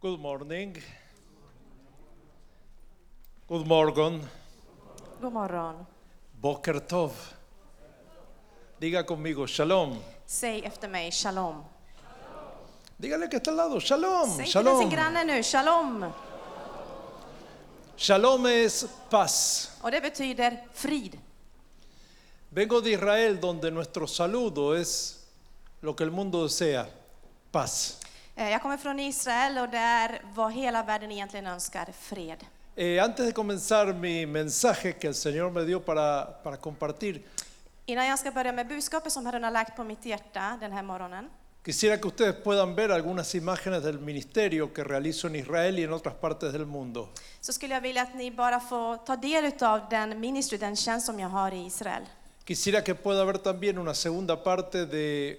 Good morning. God morgon. God morgon. Boker Tov. Diga conmigo, shalom. Säg efter mig shalom. Dígale que está al lado, shalom, Säg till sin shalom. granne nu shalom. Shalom es paz. Och det betyder frid. Vengo de Israel donde nuestro saludo es lo que el mundo desea, paz. Eh, Jag kommer från Israel och där vad hela världen egentligen önskar, fred. Eh, antes de comenzar mi mensaje que el Señor me dio para, para compartir, Innan jag ska börja med budskapet som Herren har lagt på mitt hjärta den här morgonen, Quisiera que ustedes puedan ver algunas imágenes del ministerio que realizo en Israel y en otras partes del mundo. så skulle jag vilja att ni bara får ta del av den ministry, den tjänst som jag har i Israel. Quisiera que pueda haber también una segunda parte de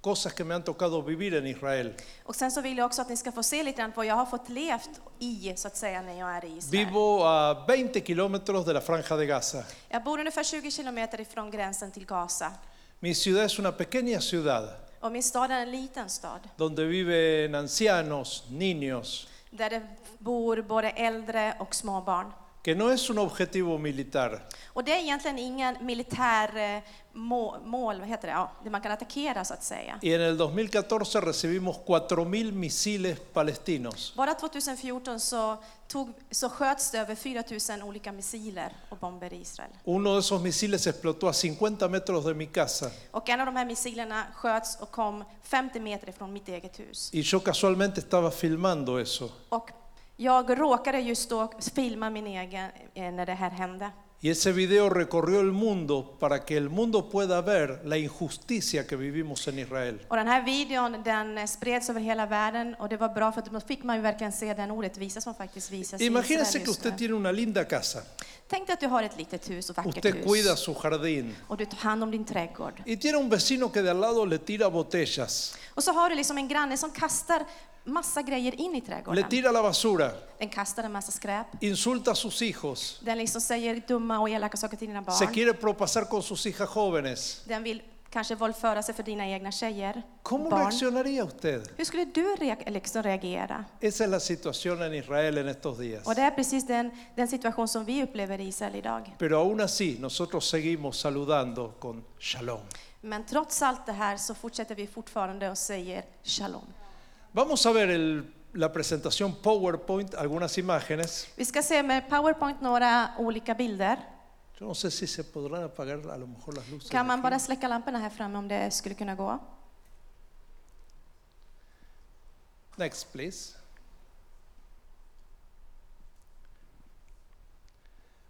cosas que me han tocado vivir en Israel. Och sen så vill jag också att ni ska få se lite grann på vad jag har fått levt i, så att säga, när jag är i Israel. Vivo a 20 kilómetros de la franja de Gaza. Jag bor ungefär 20 kilometer ifrån gränsen till Gaza. Mi ciudad es una pequeña ciudad Och min stad är en liten stad. donde viven ancianos, niños, där det bor både äldre och småbarn. que no es un objetivo militar, Och det är egentligen ingen militär eh, må, mål, vad heter det? Ja, det man kan attackera så att säga. Y en el 2014 recibimos 4.000 misiles palestinos. Bara 2014 så, tog, så sköts det över 4000 olika missiler och bomber i Israel. Uno de esos misiles explotó a 50 metros de mi casa Och en av de här missilerna sköts och kom 50 meter ifrån mitt eget hus. y yo casualmente estaba filmando eso. Och jag råkade just då filma min egen eh, när det här hände. Y ese video recorrió el mundo para que el mundo pueda ver la injusticia que vivimos en Israel. Och den här videon den eh, spreds över hela världen och det var bra för att då fick man ju verkligen se den orättvisa som faktiskt visas i Imagínense Israel que just usted nu. tiene una linda casa, Tänk dig att du har ett litet hus och vackert usted cuida hus su jardín och du tar hand om din trädgård. y tiene un vecino que de al lado le tira botellas, Och så har du liksom en granne som kastar massa grejer in i le trädgården. tira la basura, Den kastar en massa skräp. insulta a sus hijos, Den liksom säger dumma och elaka saker till dina se barn. quiere propasar con sus hijas jóvenes. Den vill kanske våldföra sig för dina egna tjejer, ¿Cómo barn. reaccionaría usted? Hur skulle du re- liksom reagera? Esa es la situación en Israel en estos días. Och det är precis den, den situation som vi upplever i Israel idag. Pero aún así nosotros seguimos saludando con shalom. Men trots allt det här så fortsätter vi fortfarande och säger shalom. Vamos a ver el- la presentación PowerPoint, algunas imágenes. Vi ska se med PowerPoint några olika bilder. Yo no sé si se podrán apagar a lo mejor las luces. de Kan man aquí. bara släcka lamporna här framme om det skulle kunna gå? Next, please.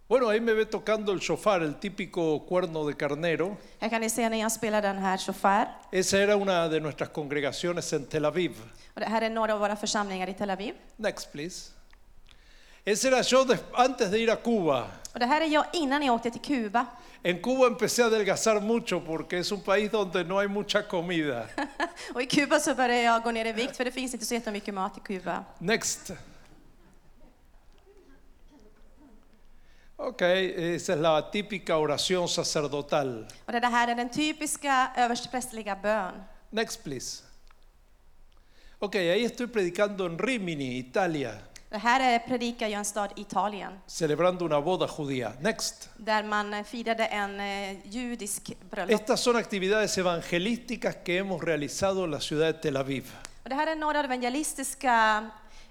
Bueno, ahí me ve tocando el shofar, el típico cuerno de carnero. Här kan ni se när jag spelar den här shofar. Esa era una de nuestras congregaciones en Tel Aviv. Och det här är några av våra församlingar i Tel Aviv. Next, please. Ese era yo des- antes de ir a Cuba. Och det här är jag innan jag åkte till Kuba. En Cuba empecé a adelgazar mucho porque es un país donde no hay mucha comida. Och i Kuba så började jag gå ner i vikt för det finns inte så jättemycket mat i Kuba. Next. Ok, esa es la típica oración sacerdotal. Och det här är den typiska översteprästliga bön. Next, please. Ok, ahí estoy predicando en Rimini, Italia, Det här är predika i en stad i Italien celebrando una boda judía. Next. där man eh, firade en eh, judisk bröllop. Estas son actividades evangelísticas que hemos realizado en la ciudad de Tel Aviv. Och det här är några evangelistiska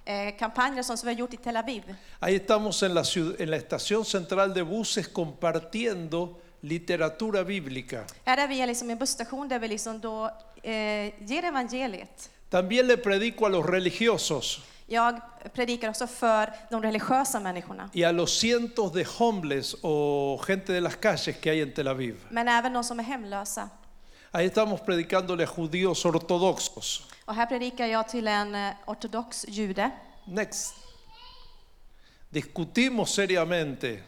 eh, kampanjer som vi har gjort i Tel Aviv. Ahí estamos en la, ciu- en la estación central de buses compartiendo literatura bíblica. Här är vi liksom i en busstation där vi liksom då, eh, ger evangeliet. También le predico a los religiosos Jag predikar också för de religiösa människorna, y a los cientos de homeless o gente de las calles que hay en Tel Aviv. men även de som är hemlösa. Ahí estamos predicándole a judíos ortodoxos. Och här predikar jag till en eh, ortodox jude. Next. Discutimos seriamente,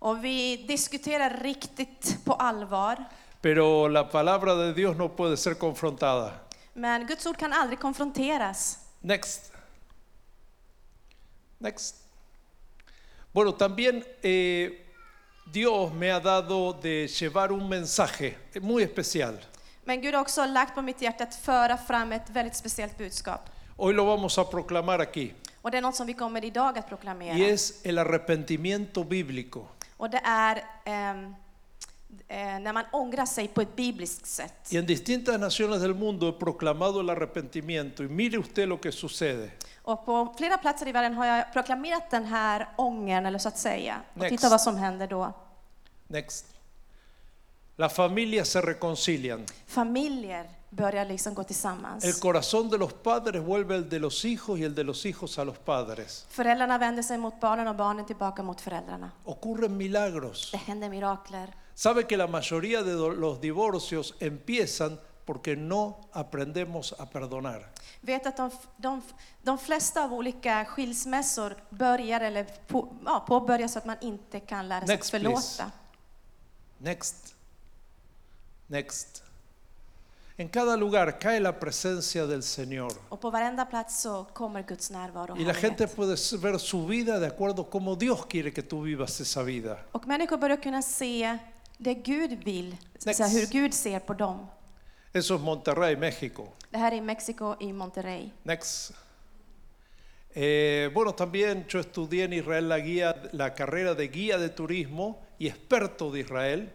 Och vi diskuterar riktigt på allvar. pero la palabra de Dios no puede ser confrontada. Men Guds ord kan aldrig konfronteras. Next. Next. Bueno, también eh, Dios me ha dado de llevar un mensaje muy especial. Men Gud har också lagt på mitt hjärta att föra fram ett väldigt speciellt budskap. Hoy lo vamos a proclamar aquí. Och det är något som vi kommer idag att proklamera. Y es el arrepentimiento bíblico. Och det är ehm, eh, när man ångrar sig på ett bibliskt sätt. Y en distintas naciones del mundo he proclamado el arrepentimiento. Y mire usted lo que sucede. Och på flera platser i världen har jag proklamerat den här ångern, eller så att säga. Och Next. titta vad som händer då. Next. Las familias se reconcilian. Familjer börjar liksom gå tillsammans. El corazón de los padres vuelve al de los hijos y el de los hijos a los padres. Föräldrarna vänder sig mot barnen och barnen tillbaka mot föräldrarna. Ocurren milagros. Det händer mirakler. Sabe que la mayoría de do- los divorcios empiezan porque no aprendemos a perdonar. Vet att de, f- de, f- de flesta av olika skilsmässor börjar eller på, ja, påbörjas så att man inte kan lära sig Next, att förlåta. please. Next. Next. En cada lugar cae la presencia del Señor. Och på varenda plats så kommer Guds närvaro och Y la härlighet. gente puede s- ver su vida de acuerdo a cómo Dios quiere que tú vivas esa vida. Och människor börjar kunna se det Gud vill, Next. så här, hur Gud ser på dem. Eso es Monterrey, México. Det här är i Mexiko, i Monterrey. Next. Eh, bueno, también yo estudié en Israel la, guía, la carrera de guía de turismo y experto de Israel.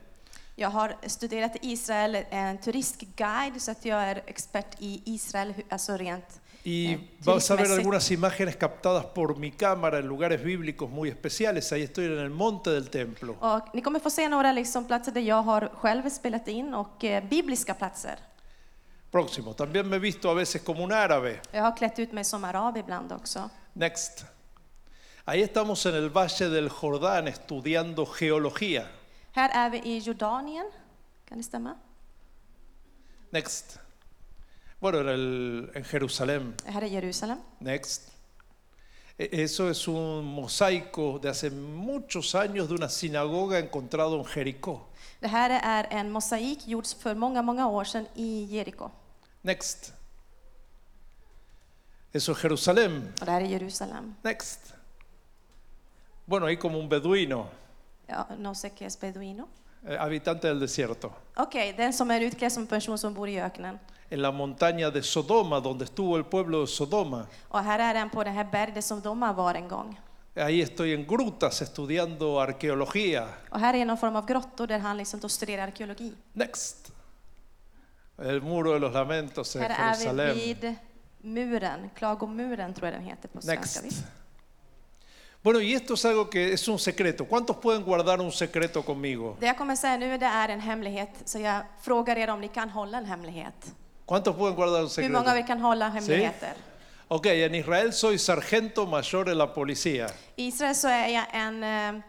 Jag har studerat i Israel, en turistguide, så att jag är expert i Israel, hu- alltså rent. Y Eh, vas a ver turismo, sí. algunas imágenes captadas por mi cámara en lugares bíblicos muy especiales. Ahí estoy en el monte del templo. Och ni kommer få se några liksom platser där jag har själv spelat in och eh, bibliska platser. Próximo. También me he visto a veces como un árabe. Jag har klätt ut mig som arab ibland också. Next. Ahí estamos en el Valle del Jordán estudiando geología. Här är vi i Jordanien, kan det stämma? Next. Bueno, en, el- en Jerusalén. Här är Jerusalem. Next. E- Eso es un mosaico de hace muchos años de una sinagoga encontrado en Jericó. Det här är en mosaik gjord för många, många år sedan i Jeriko. Next. Eso es Jerusalén. Och det här är Jerusalem. Next. Bueno, ahí como un beduino, Ja, no sé qué es beduino. eh, habitante del desierto. Okej, den som är utklädd som en person som bor i öknen. En la montaña de Sodoma, donde estuvo el pueblo de Sodoma. Och här är den på det här berget som de var en gång. Ahí estoy en grutas estudiando arqueología. Och här är någon form av grottor där han liksom då studerar arkeologi. Next. El muro de los lamentos en Här är vi Jerusalén. vid muren, Klagomuren tror jag den heter på svenska. Next. visst? Bueno, y esto es algo que es un secreto. ¿Cuántos pueden guardar un secreto conmigo? Det jag kommer säga nu det är en hemlighet, så jag frågar er om ni kan hålla en hemlighet. ¿Cuántos pueden guardar un Hur många av er secreto? kan hålla hemligheter? Ok, en Israel soy sargento mayor en la policía. I Israel så är jag en, eh,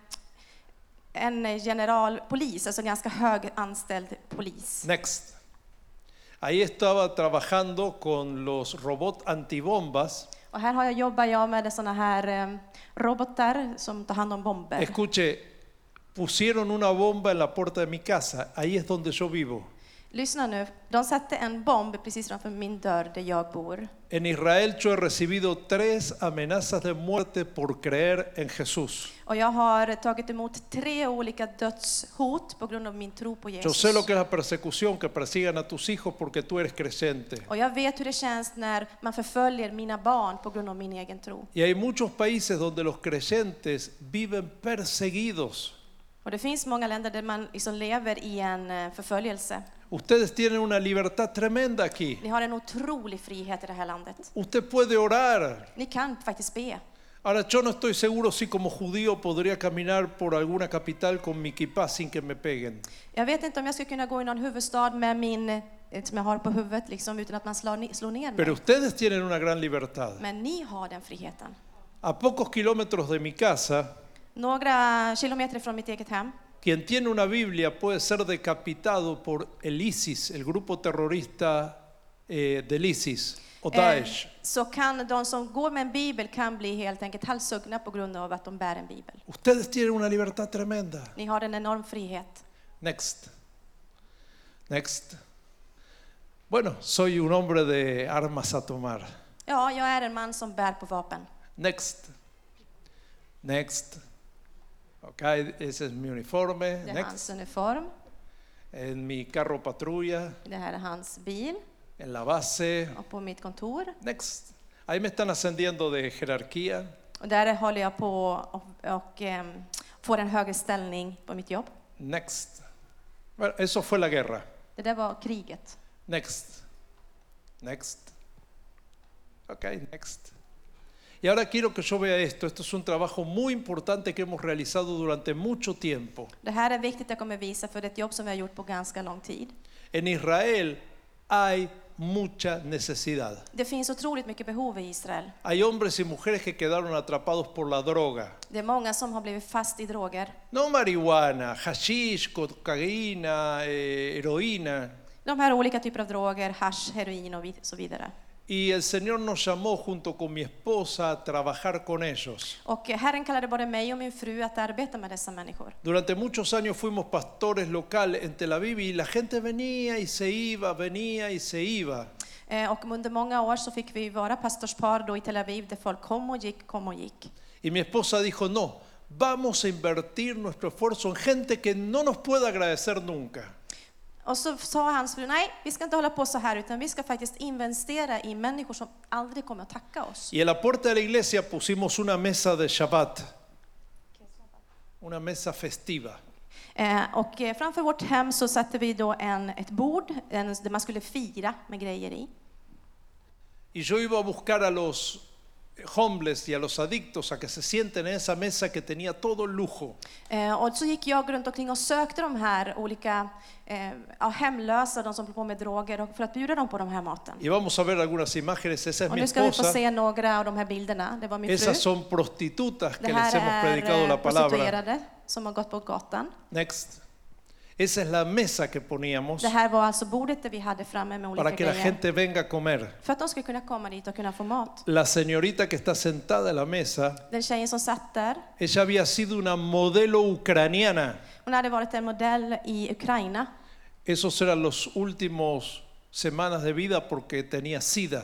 en generalpolis, alltså en ganska hög anställd polis. Next. Ahí estaba trabajando con los robots antibombas. Och här har jag, jobbar jag med sådana här eh, robotar som tar hand om bomber. Escuche, pusieron una bomba en la puerta de mi casa. Ahí es donde yo vivo. Lyssna nu, de satte en bomb precis framför min dörr där jag bor. En Israel yo he recibido tres amenazas de muerte por creer en Jesús. Och jag har tagit emot tre olika dödshot på grund av min tro på Yo sé lo Jesus. que es la persecución, que persigan a tus hijos porque tú eres creyente. Och jag vet hur det känns när man förföljer mina barn på grund av min egen tro. Y hay muchos países donde los creyentes viven perseguidos. Och det finns många länder där man liksom lever i en eh, förföljelse. Ustedes tienen una libertad tremenda aquí. Ni har en otrolig frihet i det här landet. Usted puede orar. Ni kan faktiskt be. Ahora, yo no estoy seguro si como judío podría caminar por alguna capital con mi kippah sin que me peguen. Jag vet inte om jag skulle kunna gå i någon huvudstad med min, eh, som jag har på huvudet, liksom, utan att man slår, ne- slår ner Pero mig. ustedes tienen una gran libertad. Men ni har den friheten. A pocos kilómetros de mi casa, Några kilometer från mitt eget hem quien tiene una Biblia puede ser decapitado por el ISIS, el grupo terrorista eh, del ISIS o eh, Daesh. så kan de som går med en bibel kan bli helt enkelt halshuggna på grund av att de bär en bibel. Ustedes tienen una libertad tremenda. Ni har en enorm frihet. Next. Next. Bueno, soy un hombre de armas a tomar. Ja, jag är en man som bär på vapen. Next. Next. Ok, ese es mi uniforme. Det är Next. hans uniform, En mi carro patrulla, det här är hans bil en la base. och på mitt kontor. Next. Ahí me están ascendiendo de jerarquía, Och där håller jag på och, och ehm, får en högre ställning på mitt jobb. next. Bueno, eso fue la guerra. Det där var kriget. Next. Next. Ok, next. Y ahora quiero que yo vea esto. Esto es un trabajo muy importante que hemos realizado durante mucho tiempo. Det här är viktigt, jag kommer visa, för det är ett jobb som vi har gjort på ganska lång tid. En Israel hay mucha necesidad. Det finns otroligt mycket behov i Israel. Hay hombres y mujeres que quedaron atrapados por la droga. Det är många som har blivit fast i droger. No marihuana, hashish, cocaína, eh, heroína. De här olika typer av droger, hasch, heroin och vid- så vidare. Y el Señor nos llamó junto con mi esposa a trabajar con ellos. Och Herren kallade både mig och min fru att arbeta med dessa människor. Durante muchos años fuimos pastores locales en Tel Aviv y la gente venía y se iba, venía y se iba. Eh, Och under många år så fick vi vara pastorspar då i Tel Aviv där folk kom och gick, kom och gick. Y mi esposa dijo, no, vamos a invertir nuestro esfuerzo en gente que no nos pueda agradecer nunca. Och så sa hans fru, nej, vi ska inte hålla på så här utan vi ska faktiskt investera i människor som aldrig kommer att tacka oss. Y en la puerta de la iglesia pusimos una mesa de Shabbat, una mesa festiva. Eh, Och eh, framför vårt hem så satte vi då en, ett bord en, där man skulle fira med grejer i. Y yo iba a buscar a los homeless y a los adictos a que se sienten en esa mesa que tenía todo el lujo. Eh, Och så gick jag runt omkring och sökte de här olika eh, ja, hemlösa, de som håller på med droger, och- för att bjuda dem på den här maten. Y vamos a ver algunas imágenes, esa es Och mi nu ska vi få esposa. se några av de här bilderna. Det var min fru. Esas son prostitutas que Det les här hemos predicado är eh, la palabra. prostituerade som har gått på gatan. Next. Esa es la mesa que poníamos Det här var alltså bordet där vi hade framme med olika para que la grejer. gente venga a comer. För att de skulle kunna komma dit och kunna få mat. La señorita que está sentada en la mesa, Den tjejen som satt där, ella había sido una modelo ucraniana. hon hade varit en modell i Ukraina. Esos eran los últimos semanas de vida porque tenía sida.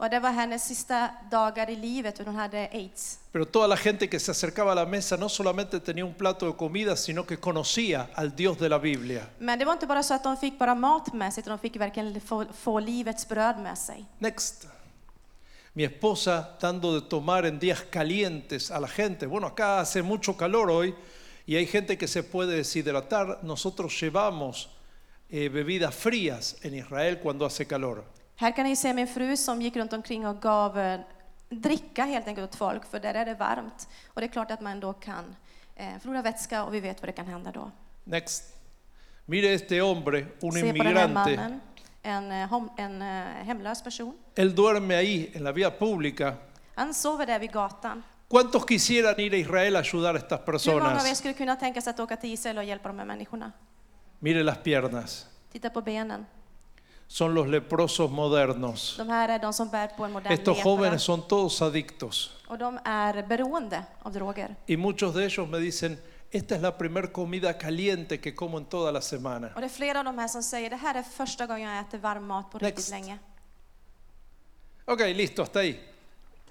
Och det var hennes sista dagar i livet, för hon hade aids. Pero toda la gente que se acercaba a la mesa no solamente tenía un plato de comida, sino que conocía al Dios de la Biblia. Men det var inte bara så att de fick bara mat med sig, utan de fick verkligen få, få livets bröd med sig. Next. Mi esposa dando de tomar en días calientes a la gente. Bueno, acá hace mucho calor hoy y hay gente que se puede deshidratar. Nosotros llevamos eh, bebidas frías en Israel cuando hace calor. Här kan ni se min fru som gick runt omkring och gav eh, dricka helt enkelt åt folk, för där är det varmt. Och det är klart att man då kan eh, förlora vätska och vi vet vad det kan hända då. Next. Mire este hombre, un Se på den här inmigrante. mannen, en, eh, hom- en eh, hemlös person. Él duerme ahí en la vía pública. Han sover där vid gatan. ¿Cuántos quisieran ir a Israel a ayudar a estas Hur många av er personas? skulle kunna tänka sig att åka till Israel och hjälpa de här människorna? Mire las piernas. Titta på benen. Son los leprosos modernos. De här är de som bär på en modern Estos lepra. jóvenes son todos adictos. Och de är beroende av droger. Y muchos de ellos me dicen, esta es la primer comida caliente que como en toda la semana. Och det är flera av de här som säger det här är första gången jag äter varm mat på riktigt Next. länge. Ok, listo, hasta ahí.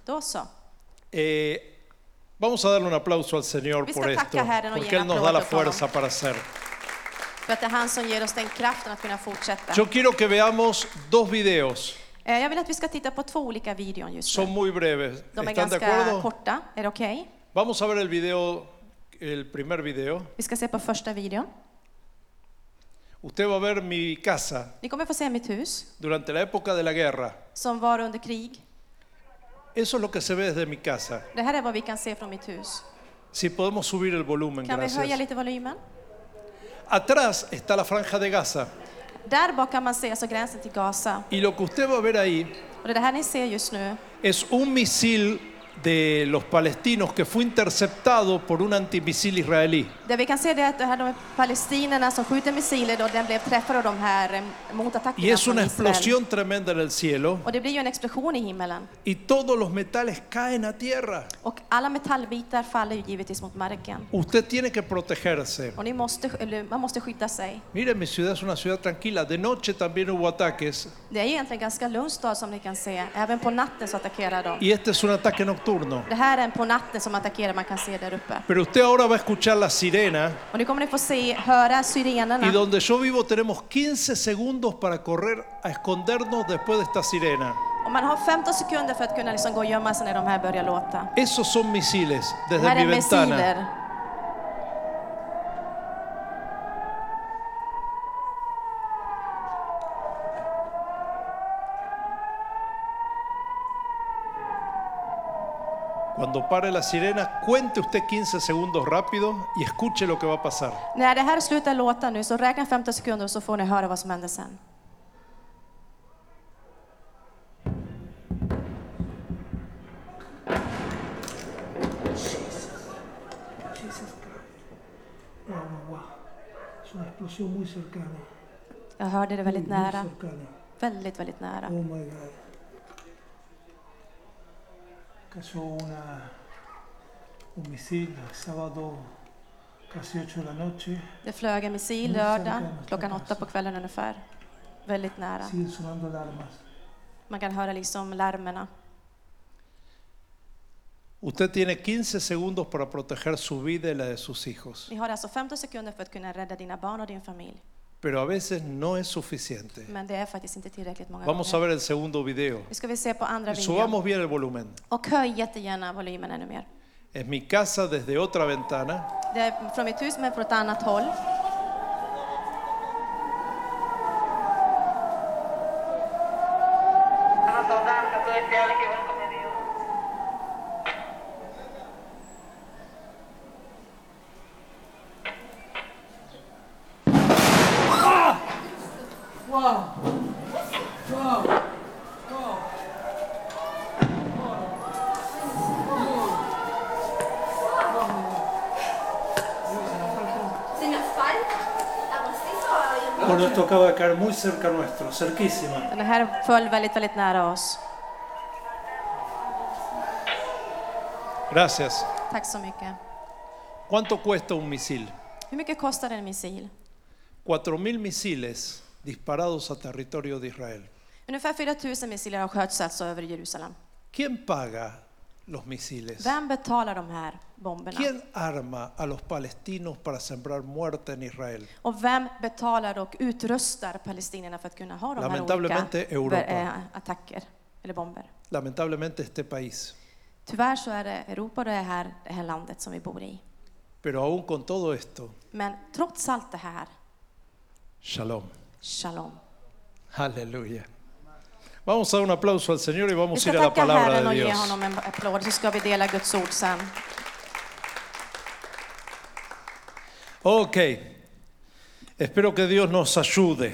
Då så. Eh, vamos a darle un aplauso al Señor Viste por esto, ataca, Herren, och porque ge Él en nos da la applåd åt fuerza para hacer. För att det är han som ger oss den kraften att kunna fortsätta. Yo quiero que veamos dos videos, Eh, Jag vill att vi ska titta på två olika videon just son nu. muy breves. De är ¿Están de ganska acuerdo? korta. Är det okej? Vamos a ver el video, el primer video. Vi ska se på första videon. Usted va a ver mi casa Ni kommer få se mitt hus durante la época de la guerra. som var under krig. Eso es lo que se ve desde mi casa. Det här är vad vi kan se från mitt hus. Si podemos subir el volumen, Kan vi höja gracias. lite volymen? Atrás está la franja de Gaza. Där bak kan man se alltså gränsen till Gaza. Y lo que usted va a ver ahí Och det är det här ni ser just nu. es un misil de los palestinos que fue interceptado por un antimisil israelí. Det vi kan se det är att det här de palestinerna som skjuter missiler då, den blev träffad av de här eh, Y motattackerna es från una Israel. explosión tremenda en el cielo Och det blir ju en explosion i himmelen. y todos los metales caen a tierra. Och alla metallbitar faller ju givetvis mot marken. Usted tiene que protegerse. Och ni måste, eller man måste skydda sig. Mire, mi ciudad es una ciudad tranquila. De noche también hubo ataques Det är ju egentligen ganska lugn stad som ni kan se. Även på natten så attackerar de. y este es un ataque nocturno. Det här är en på natten som attackerar, man kan se där uppe. Pero usted ahora va a escuchar la sirena Och nu kommer ni få se, höra y sirenerna. donde yo vivo tenemos 15 segundos para correr a escondernos después de esta sirena. Och man har 15 sekunder för att kunna liksom gå och gömma sig när de här börjar låta. Esos son misiles Det desde här mi är ventana. missiler. Cuando pare la sirena, cuente usted 15 segundos rápido y escuche lo que va a pasar. När det här slutar låta nu så räkna 15 sekunder och så får ni höra vad som händer sen. Era una guau. Es una explosión muy cercana. Jag hörde det väldigt muy, nära. Muy cercana. Väldigt, väldigt Oh nära. my God. Cayó una, un misil el sábado, casi 8 de la noche. Det flög en missil lördag klockan åtta på kvällen ungefär. Väldigt nära. Siguen sonando alarmas. Man kan höra liksom larmerna. Usted tiene 15 segundos para proteger su vida y la de sus hijos, Ni har alltså 15 sekunder för att kunna rädda dina barn och din familj. pero a veces no es suficiente. Men det är faktiskt inte tillräckligt många Vamos a gånger. ver el segundo video. Nu ska vi se på andra videon. Subamos bien el volumen. Och höj jättegärna volymen ännu mer. Es mi casa desde otra ventana. Det är från mitt hus men från ett annat håll. Bueno, esto acaba de caer muy cerca nuestro, cerquísima. Den här föll väldigt, väldigt nära oss. Gracias. Tack så mycket. ¿Cuánto cuesta un misil? Hur mycket kostar en missil? 4.000 misiles disparados a territorio de Israel. Ungefär 4 000 missiler har sköts alltså över Jerusalem. ¿Quién paga los misiles? Vem betalar de här bomberna? ¿Quién arma a los palestinos para sembrar muerte en Israel? Och vem betalar och utrustar palestinierna för att kunna ha de här olika Lamentablemente, Europa. eh, attacker eller bomber? Lamentablemente este país. Tyvärr så är det Europa och det här, det här landet som vi bor i. Pero aún con todo esto, Men trots allt det här, shalom. shalom. Aleluya. Vamos a dar un aplauso al Señor y Vi vamos a ska ir a la tacka palabra Herren och de ge Dios. honom en applåd så ska vi dela Guds ord sen. Ok. Espero que Dios nos ayude.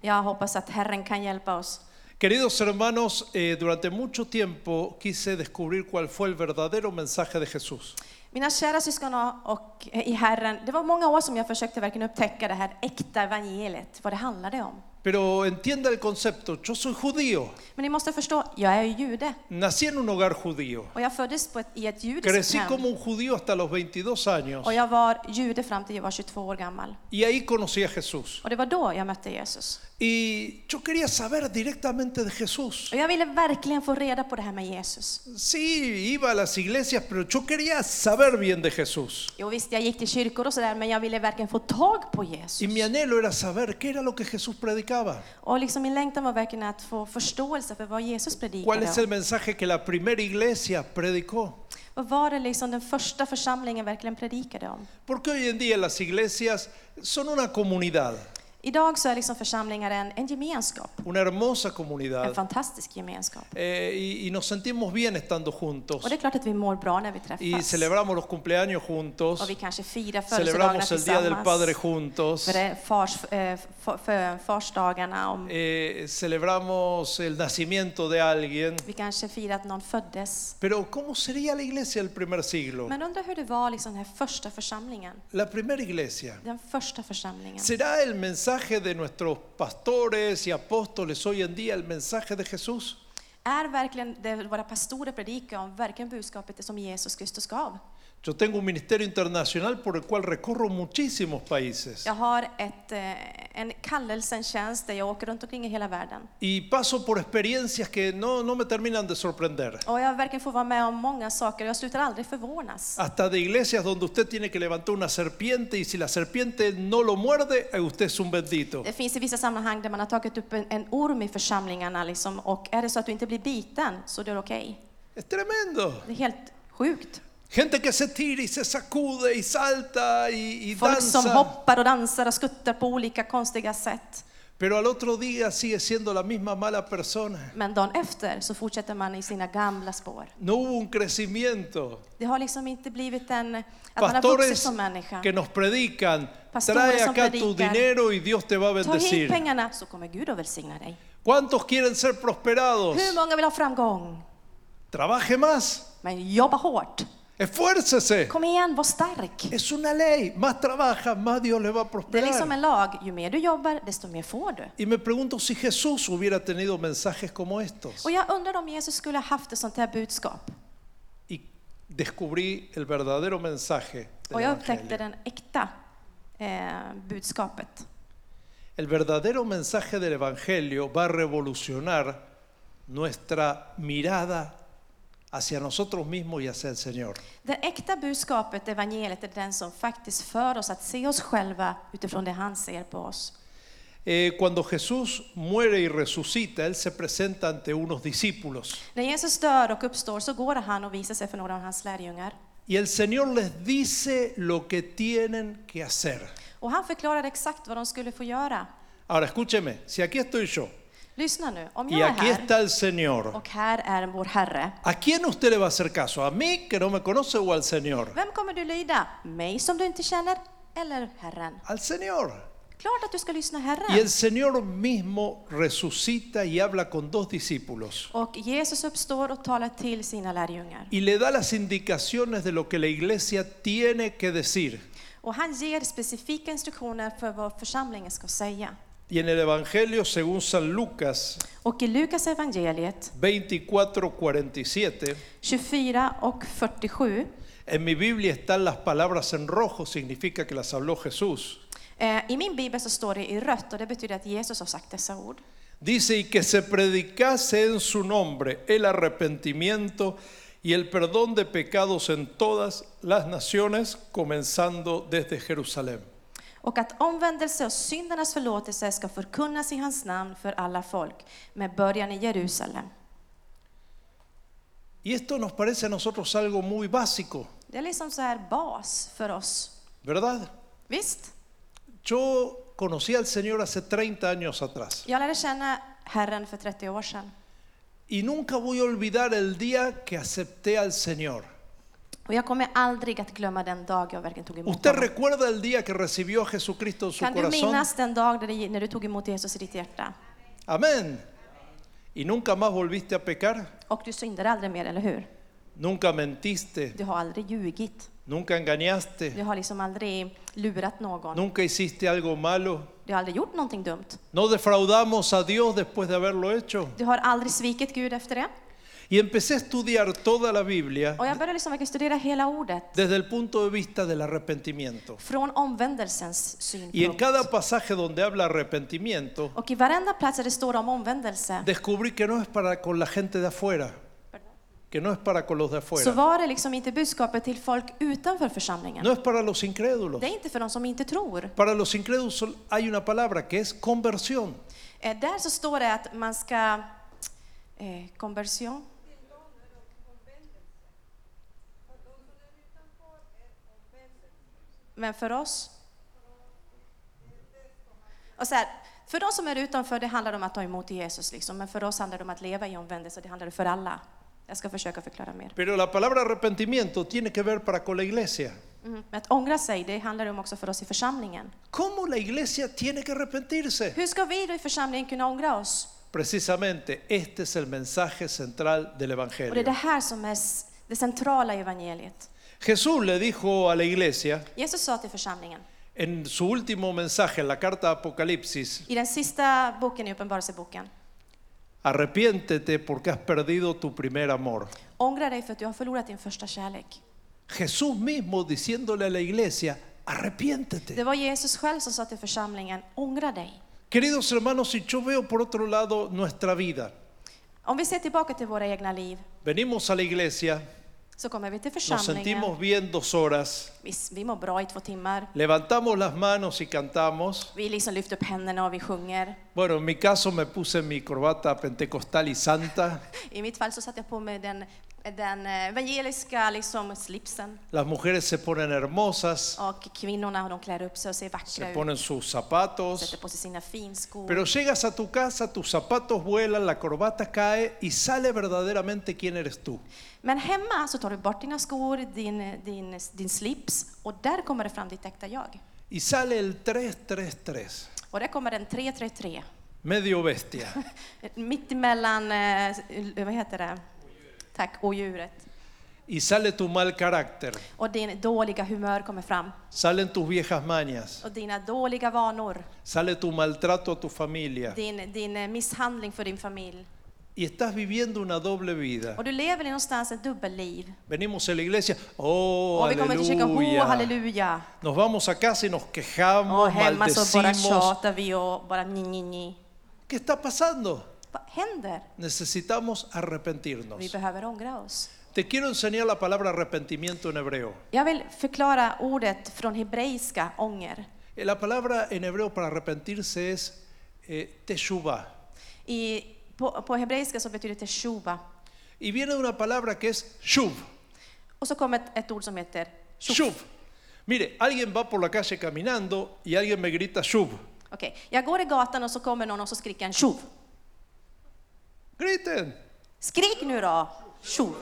Jag hoppas att Herren kan hjälpa oss. Queridos hermanos, eh, durante mucho tiempo quise descubrir cuál fue el verdadero mensaje de Jesús. Mina kära syskon och eh, i Herren, det var många år som jag försökte verkligen upptäcka det här äkta evangeliet, vad det handlade om. Pero entienda el concepto, yo soy judío, Men ni måste förstå, jag är ju jude nací en un hogar judío, och jag föddes på ett, i ett judiskt crecí como un hem judío hasta los 22 años och jag var jude fram till jag var 22 år gammal. y ahí conocí a Jesús. Och det var då jag mötte Jesus. Y yo quería saber directamente de Jesús. Och jag ville verkligen få reda på det här med Jesus. Sí, iba a las iglesias, pero yo quería saber bien de Jesús. Jo visst, jag gick till kyrkor och sådär, men jag ville verkligen få tag på Y mi Jesus. anhelo era saber qué era lo que Jesús predicaba, Och liksom min längtan var verkligen att få förståelse för vad Jesus cuál predikade es el om. mensaje que la primera iglesia predicó. Vad var det liksom den första församlingen verkligen predikade om? Porque hoy en día las iglesias son una comunidad, Idag så är liksom församlingar en, en gemenskap, una hermosa en comunidad, fantastisk gemenskap. eh, y, y nos sentimos bien estando juntos, Och det är klart att vi mår bra när vi y träffas. celebramos los cumpleaños juntos, Och vi kanske firar födelsedagarna celebramos el Día del Padre tillsammans. juntos, För det- Fars, eh, fa- för farsdagarna. Om eh, celebramos el nacimiento de alguien. vi kanske firar att någon föddes. Pero ¿cómo sería la iglesia del primer siglo? Men undrar hur det var liksom den här första församlingen. La primera iglesia. Den första församlingen. ¿Será el mensaje de nuestros pastores y apóstoles hoy en día el mensaje de Jesús? Är verkligen det våra pastorer predikar om verkligen budskapet som Jesus Kristus gav? Yo tengo un ministerio internacional por el cual recorro muchísimos países Jag har ett, eh, en kallelse, en tjänst där jag åker runt omkring i hela världen. y paso por experiencias que no, no me terminan de sorprender. Och jag verkligen får vara med om många saker och jag slutar aldrig förvånas. Hasta de iglesias donde usted tiene que levantar una serpiente y si la serpiente no lo muerde, eh, usted es un bendito. Det finns i vissa sammanhang där man har tagit upp en, en orm i församlingarna liksom, och är det så att du inte blir biten så då är det okej. Es tremendo. Det är helt sjukt. Gente que se tira y se sacude y salta y, y Folk som danza, hoppar och dansar och skuttar på olika konstiga sätt. pero al otro día sigue siendo la misma mala persona. Men dagen efter så fortsätter man i sina gamla spår. No hubo un crecimiento. Det har liksom inte blivit en... Att man har vuxit Pastores som människa. que nos predican, Pastores trae som acá tu predican. dinero y Dios te va a Ta hit bendecir. pengarna så kommer Gud att välsigna dig. ¿Cuántos quieren ser prosperados? Hur många vill ha framgång? Trabaje más, Men jobba hårt. esfuércese. Kom igen, var stark. Es una ley, más trabaja, más Dios le va a Det är liksom prosperar. en lag. Ju mer du jobbar, desto mer får du. Y me pregunto si Jesús hubiera tenido mensajes como estos. Och jag undrar om Jesus skulle ha haft ett sånt här budskap. Y descubrí el verdadero mensaje. Och Del jag upptäckte evangelio. den äkta eh, budskapet. El verdadero mensaje del Evangelio va a revolucionar nuestra mirada hacia nosotros mismos y hacia el Señor. Det äkta budskapet, evangeliet, är den som faktiskt för oss att se oss själva utifrån det han ser på oss. Eh, cuando Jesús muere y resucita, Él se presenta ante unos discípulos. När Jesus dör och uppstår så går han och visar sig för några av hans lärjungar. Y el Señor les dice lo que tienen que hacer. Och han förklarar exakt vad de skulle få göra. Ahora escúcheme, si aquí estoy yo Lyssna nu, om y jag är aquí här está el Señor, och här är vår Herre. ¿a quién usted le va a hacer caso? ¿A mí que no me conoce o al Señor? Vem kommer du lyda? Mig som du inte känner eller Herren? Al Señor. Klart att du ska lyssna Y el Herren. Señor mismo resucita y habla con dos discípulos Och Jesus uppstår och talar till sina lärjungar. y le da las indicaciones de lo que la iglesia tiene que decir. Och han ger specifika instruktioner för vad församlingen ska säga. Y en el Evangelio, según San Lucas Och i Lukas evangeliet 24:47, 24 och 47. en mi Biblia están las palabras en rojo, significa que las habló Jesús. Eh, I min bibel så står det i rött och det betyder att Jesus har sagt dessa ord. Dice, y que se predicase en su nombre el arrepentimiento y el perdón de pecados en todas las naciones, comenzando desde Jerusalén. Och att omvändelse och syndernas förlåtelse ska förkunnas i hans namn för alla folk med början i Jerusalem. Y esto nos parece a nosotros algo muy básico, Det är liksom så här bas för oss. ¿verdad? Visst, Yo conocí al Señor hace 30 años atrás jag lärde känna Herren för 30 år sedan. y nunca voy a olvidar el día que acepté al Señor. Och jag kommer aldrig att glömma den dag jag verkligen tog emot ¿Usted honom. recuerda el día que recibió a Jesucristo en su Kan du corazón? minnas den dag där du- när du tog emot Jesus i ditt hjärta? Amén. ¿Y nunca más volviste a pecar? Och du syndade aldrig mer, eller hur? ¿Nunca mentiste? Du har aldrig ljugit. ¿Nunca Du engañaste? har liksom aldrig lurat någon. ¿Nunca hiciste algo malo? Du har aldrig gjort någonting dumt. ¿No defraudamos a Dios después de haberlo hecho? Du har aldrig svikit Gud efter det. Y empecé a estudiar toda la Biblia Och jag började liksom verkligen studera hela ordet desde el punto de vista del arrepentimiento. från omvändelsens Y en synpunkt. cada pasaje donde habla arrepentimiento, Och i varenda plats där det står om omvändelse descubrí que no es para con la gente de afuera, que no es para con los de så afuera, var det liksom inte budskapet till folk utanför församlingen. no es para los incrédulos. Det är inte för de som inte tror. Para los incrédulos hay una palabra que es conversión. Eh, där så står det att man ska... Eh, conversion. Men för oss? Och så här, för de som är utanför det handlar det om att ta emot Jesus, liksom. men för oss handlar det om att leva i omvändelse, och det handlar det för alla. Jag ska försöka förklara mer. Pero la palabra arrepentimiento tiene que ver para con la iglesia. Mm. Men att ångra sig, det handlar det om också för oss i församlingen. ¿Cómo la iglesia tiene que arrepentirse? Hur ska vi då i församlingen kunna ångra oss? Precisamente este es el mensaje central del Och det är det Evangelio. här som är s- det centrala i evangeliet. Jesús le dijo a la iglesia Jesus sa till församlingen, en su último mensaje en la carta a Apocalipsis, i den sista boken i Uppenbarelseboken, Arrepiéntete porque has perdido tu primer amor. ångra dig för att du har förlorat din första kärlek. Jesús mismo diciéndole a la iglesia, Det arrepiéntete. var Jesus själv som sa till församlingen, ångra dig. Queridos hermanos, si yo veo por otro lado nuestra vida, Om vi ser tillbaka till våra egna liv venimos a la iglesia, så kommer vi till nos församlingen. sentimos bien dos horas, Vi, vi mår bra i två timmar. levantamos las manos y cantamos. Vi liksom lyfter upp händerna och vi sjunger. Bueno, en mi caso me puse mi corbata pentecostal y santa. I mitt fall så satte jag på mig den, den eh, evangeliska liksom, slipsen. Las mujeres se ponen hermosas, Och kvinnorna de klär upp sig och ser se vackra ut. ponen sus Sätter zapatos. på sig sina finskor. Pero llegas a tu casa, tus zapatos vuelan, la corbata cae y sale verdaderamente quién eres tú. Men hemma så tar du bort dina skor, din, din, din slips och där kommer det fram ditt äkta jag. Y sale el 333, Och där kommer en 333. medio bestia. Mittemellan, eh, vad heter det? Tack, odjuret. Y sale tu mal carácter, Och din dåliga humör kommer fram. salen tus viejas mañas, Och dina dåliga vanor. sale tu maltrato a tu familia. Din, din eh, misshandling för din familj. Y estás viviendo una doble vida. Och du lever i någonstans ett dubbelliv. Venimos a la iglesia, oh, Och vi kommer till kyrkan, ho, aleluya. halleluja. Nos vamos a casa y nos Och quejamos, hemma så bara maldecimos. tjatar vi och bara nj, nj, nj. ¿Qué está pasando? Vad händer? Necesitamos Vi arrepentirnos. behöver ångra oss. Te quiero enseñar la palabra arrepentimiento en hebreo. Jag vill förklara ordet från hebreiska, ånger. Eh, La palabra en hebreo para arrepentirse es eh, teshuvah. I, på, på hebreiska så betyder det teshuva. Y viene de una palabra que es shuv. Och så kommer ett, ett ord som heter Shuv. shuf. Mire, alguien va por la calle caminando y alguien me grita shuv. Okej, jag går i gatan och så kommer någon och så skriker en tjov. Griten. Skrik nu då! Tjov!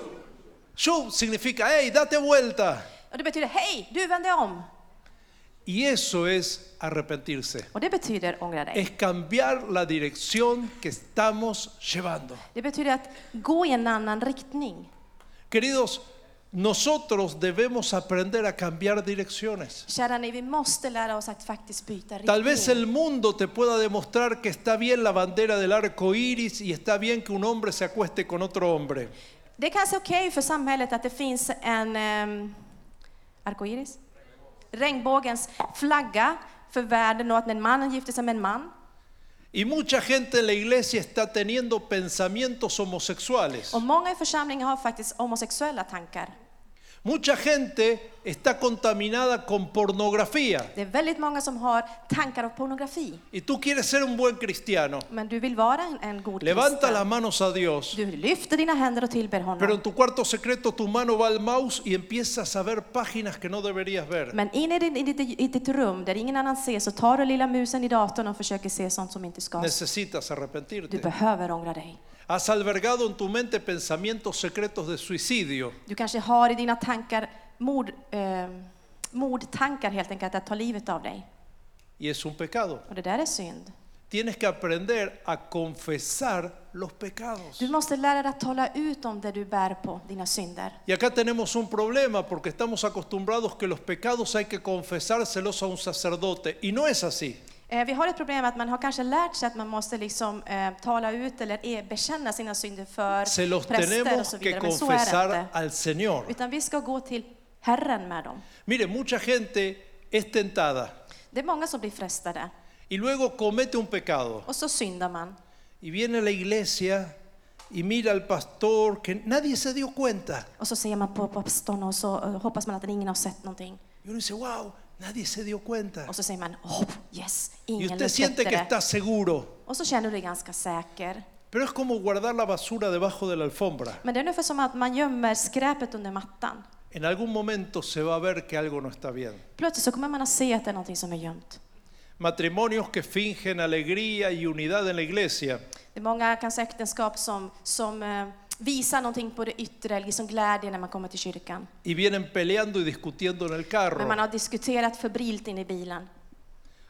Shuv significa, hey, date vuelta. Och det betyder hej, du vänder om! Y eso es arrepentirse. Och det betyder ångra dig. Es cambiar la dirección que estamos llevando. Det betyder att gå i en annan riktning. Queridos, nosotros debemos aprender a cambiar direcciones. Kära ni, vi måste lära oss att faktiskt byta Tal vez riktning. el mundo te pueda demostrar que está bien la bandera del arco iris y está bien que un hombre se acueste con otro hombre. Det är kanske okej för samhället att det finns en um, arkoiris? Regnbågens flagga för världen och att när mannen gifter sig med en man. Y mucha gente en la iglesia está teniendo pensamientos homosexuales. Och många i församlingen har faktiskt homosexuella tankar. Mucha gente está contaminada con pornografía. Det är väldigt många som har tankar av pornografi. Y tú quieres ser un buen cristiano. Men du vill vara en, en god Levanta kristen. las manos a Dios. Du lyfter dina händer och tillber honom. Pero en tu cuarto secreto tu mano va al mouse y empiezas a ver páginas que no deberías ver. Men in i, din, i, ditt, i ditt rum där ingen annan ser så tar du lilla musen i datorn och försöker se sånt som inte ska. ses. Necesitas Du arrepentirte. behöver ångra dig. Has albergado en tu mente pensamientos secretos de suicidio. Du kanske har i dina tankar mord, eh, mordtankar helt enkelt att ta livet av dig. Y es un pecado. Och det där är synd. Tienes que aprender a confesar los pecados. Du måste lära dig att tala ut om det du bär på, dina synder. Y acá tenemos un problema porque estamos acostumbrados que los pecados hay que confesárselos a un sacerdote. Y no es así. Eh, vi har ett problem att man har kanske lärt sig att man måste liksom, eh, tala ut eller er, bekänna sina synder för Se los präster och tenemos så que vidare. Men så är det inte. confesar al Señor. Utan vi ska gå till Herren med dem. Mire, mucha gente es tentada Det är många som blir frestade y luego comete un pecado. och så syndar man. Y viene a la iglesia y mira al pastor que nadie se dio cuenta. Och så ser man på pastorn och så eh, hoppas man att ingen har sett någonting. Y uno dice, wow, nadie se dio cuenta. Och så säger man oh, yes, Y ingen usted siente upptäckte que det. está seguro. Och så känner du dig ganska säker. Pero es como guardar la basura debajo de la alfombra. Men det är ungefär som att man gömmer skräpet under mattan. En algún momento se va a ver que algo no está bien. Plötsligt så kommer man att se att det är någonting som är gömt. Matrimonios que fingen alegría y unidad en la iglesia. Det är många kanske äktenskap som, som eh, visar någonting på det yttre, liksom glädje när man kommer till kyrkan. Y vienen peleando y discutiendo en el Men man carro. har diskuterat febrilt in i bilen.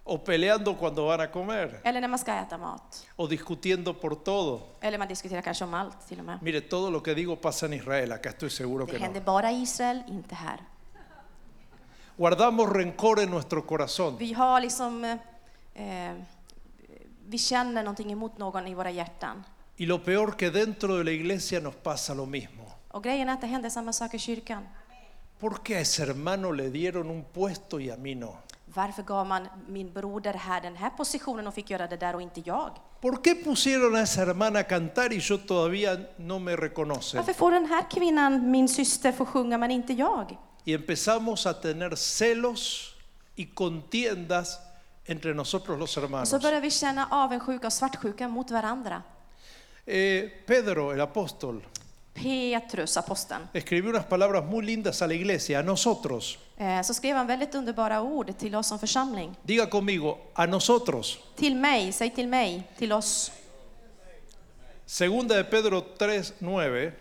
O peleando cuando van a comer. Eller när man ska äta mat. O discutiendo por todo. Eller man diskuterar kanske om allt till och med. Mire, todo lo que digo pasa en Israel. Acá estoy seguro Det que no. händer bara i Israel, inte här. Guardamos rencor en nuestro corazón. Vi har liksom... Eh, eh, vi känner någonting emot någon i våra hjärtan. Y lo peor que dentro de la iglesia nos pasa lo mismo. Och grejen är att det händer samma sak i kyrkan. ¿Por qué a ese hermano le dieron un puesto y a mí no? Varför gav man min broder här den här positionen och fick göra det där och inte jag? ¿Por qué pusieron a esa hermana a cantar y yo todavía no me reconocen? Varför får den här kvinnan, min syster, få sjunga men inte jag? Y empezamos a tener celos y contiendas entre nosotros los Och hermanos. så börjar vi känna avundsjuka och svartsjuka mot varandra. Eh, Pedro, el apóstol, Petrus, aposteln, escribió unas palabras muy lindas a la iglesia, a nosotros. eh, så skrev han väldigt underbara ord till oss som församling. Diga conmigo, a nosotros. Till mig, säg till mig, till oss. Segunda de Pedro 3:9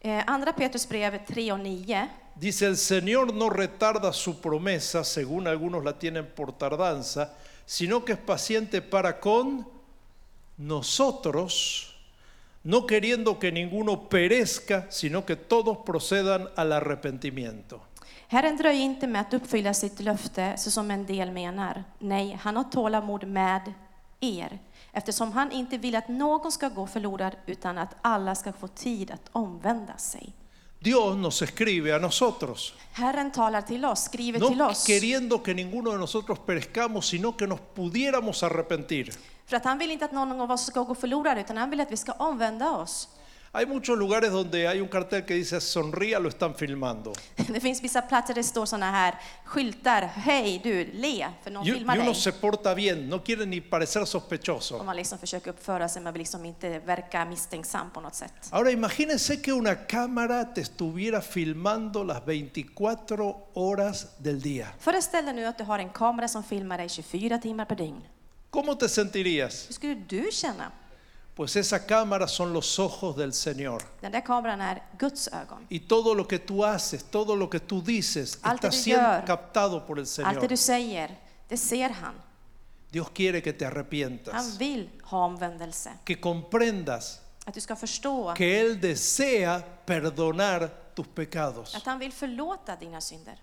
Eh, Andra Petrus brev 3 och 9. dice, "El Señor no retarda su promesa, según algunos la tienen por tardanza, sino que es paciente para con nosotros, no queriendo que ninguno perezca, sino que todos procedan al arrepentimiento." Herren dröjer inte med att uppfylla sitt löfte, så som en del menar. Nej, han har tålamod med er, eftersom han inte vill att någon ska gå förlorad, utan att alla ska få tid att omvända sig. Dios nos escribe a nosotros, Herren talar till oss, skriver till no oss, queriendo que ninguno de nosotros perezcamos, sino que nos pudiéramos arrepentir. för att han vill inte att någon av oss ska gå förlorad, utan han vill att vi ska omvända oss. Hay muchos lugares donde hay un cartel que dice sonría, lo están filmando. Det finns vissa platser där det står sådana här skyltar, hej du, le, för någon Y, y filmar uno dig. se porta bien, no quiere ni parecer Och sospechoso. man liksom försöker uppföra sig, man vill liksom inte verka misstänksam på något sätt. Ahora imagínense que una cámara te estuviera filmando las 24 horas del día. Föreställ dig nu att du har en kamera som filmar dig 24 timmar per dygn. ¿Cómo te sentirías? Hur skulle du känna? Pues esa cámara son los ojos del Señor. Den där kameran är Guds ögon. Y todo lo que tú haces, todo lo que tú dices, Alto está siendo Señor. captado por el Allt det Señor. du säger, det ser han. Dios quiere que te Han arrepientas, vill ha omvändelse. que comprendas Att du ska förstå que Él desea perdonar tus pecados. att han vill förlåta dina synder.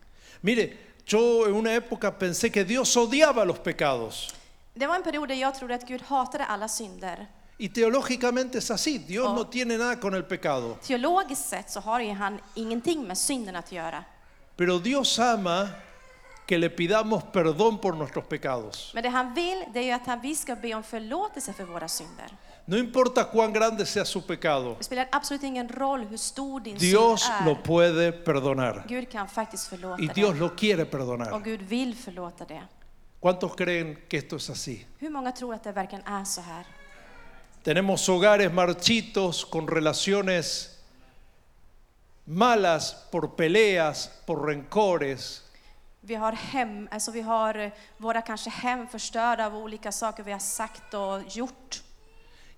Mire, yo en una época pensé que Dios odiaba los pecados. Det var en period där jag trodde att Gud hatade alla synder. Y teológicamente es así, Dios Oh. no tiene nada con el pecado. Teologiskt sett så har ju han ingenting med synden att göra. Pero Dios ama que le pidamos perdón por nuestros pecados. Men det han vill, det är ju att han, vi ska be om förlåtelse för våra synder. No importa cuán grande sea su pecado, Det spelar absolut ingen roll hur stor din Dios synd är. lo puede perdonar. Gud kan faktiskt förlåta Y det. Dios lo quiere Och perdonar. Gud vill förlåta det. ¿Cuántos creen que esto es así? Hur många tror att det verkligen är så här? Tenemos hogares marchitos con relaciones malas por peleas, por rencores, Vi har hem, alltså vi har eh, våra kanske hem förstörda av olika saker vi har sagt och gjort.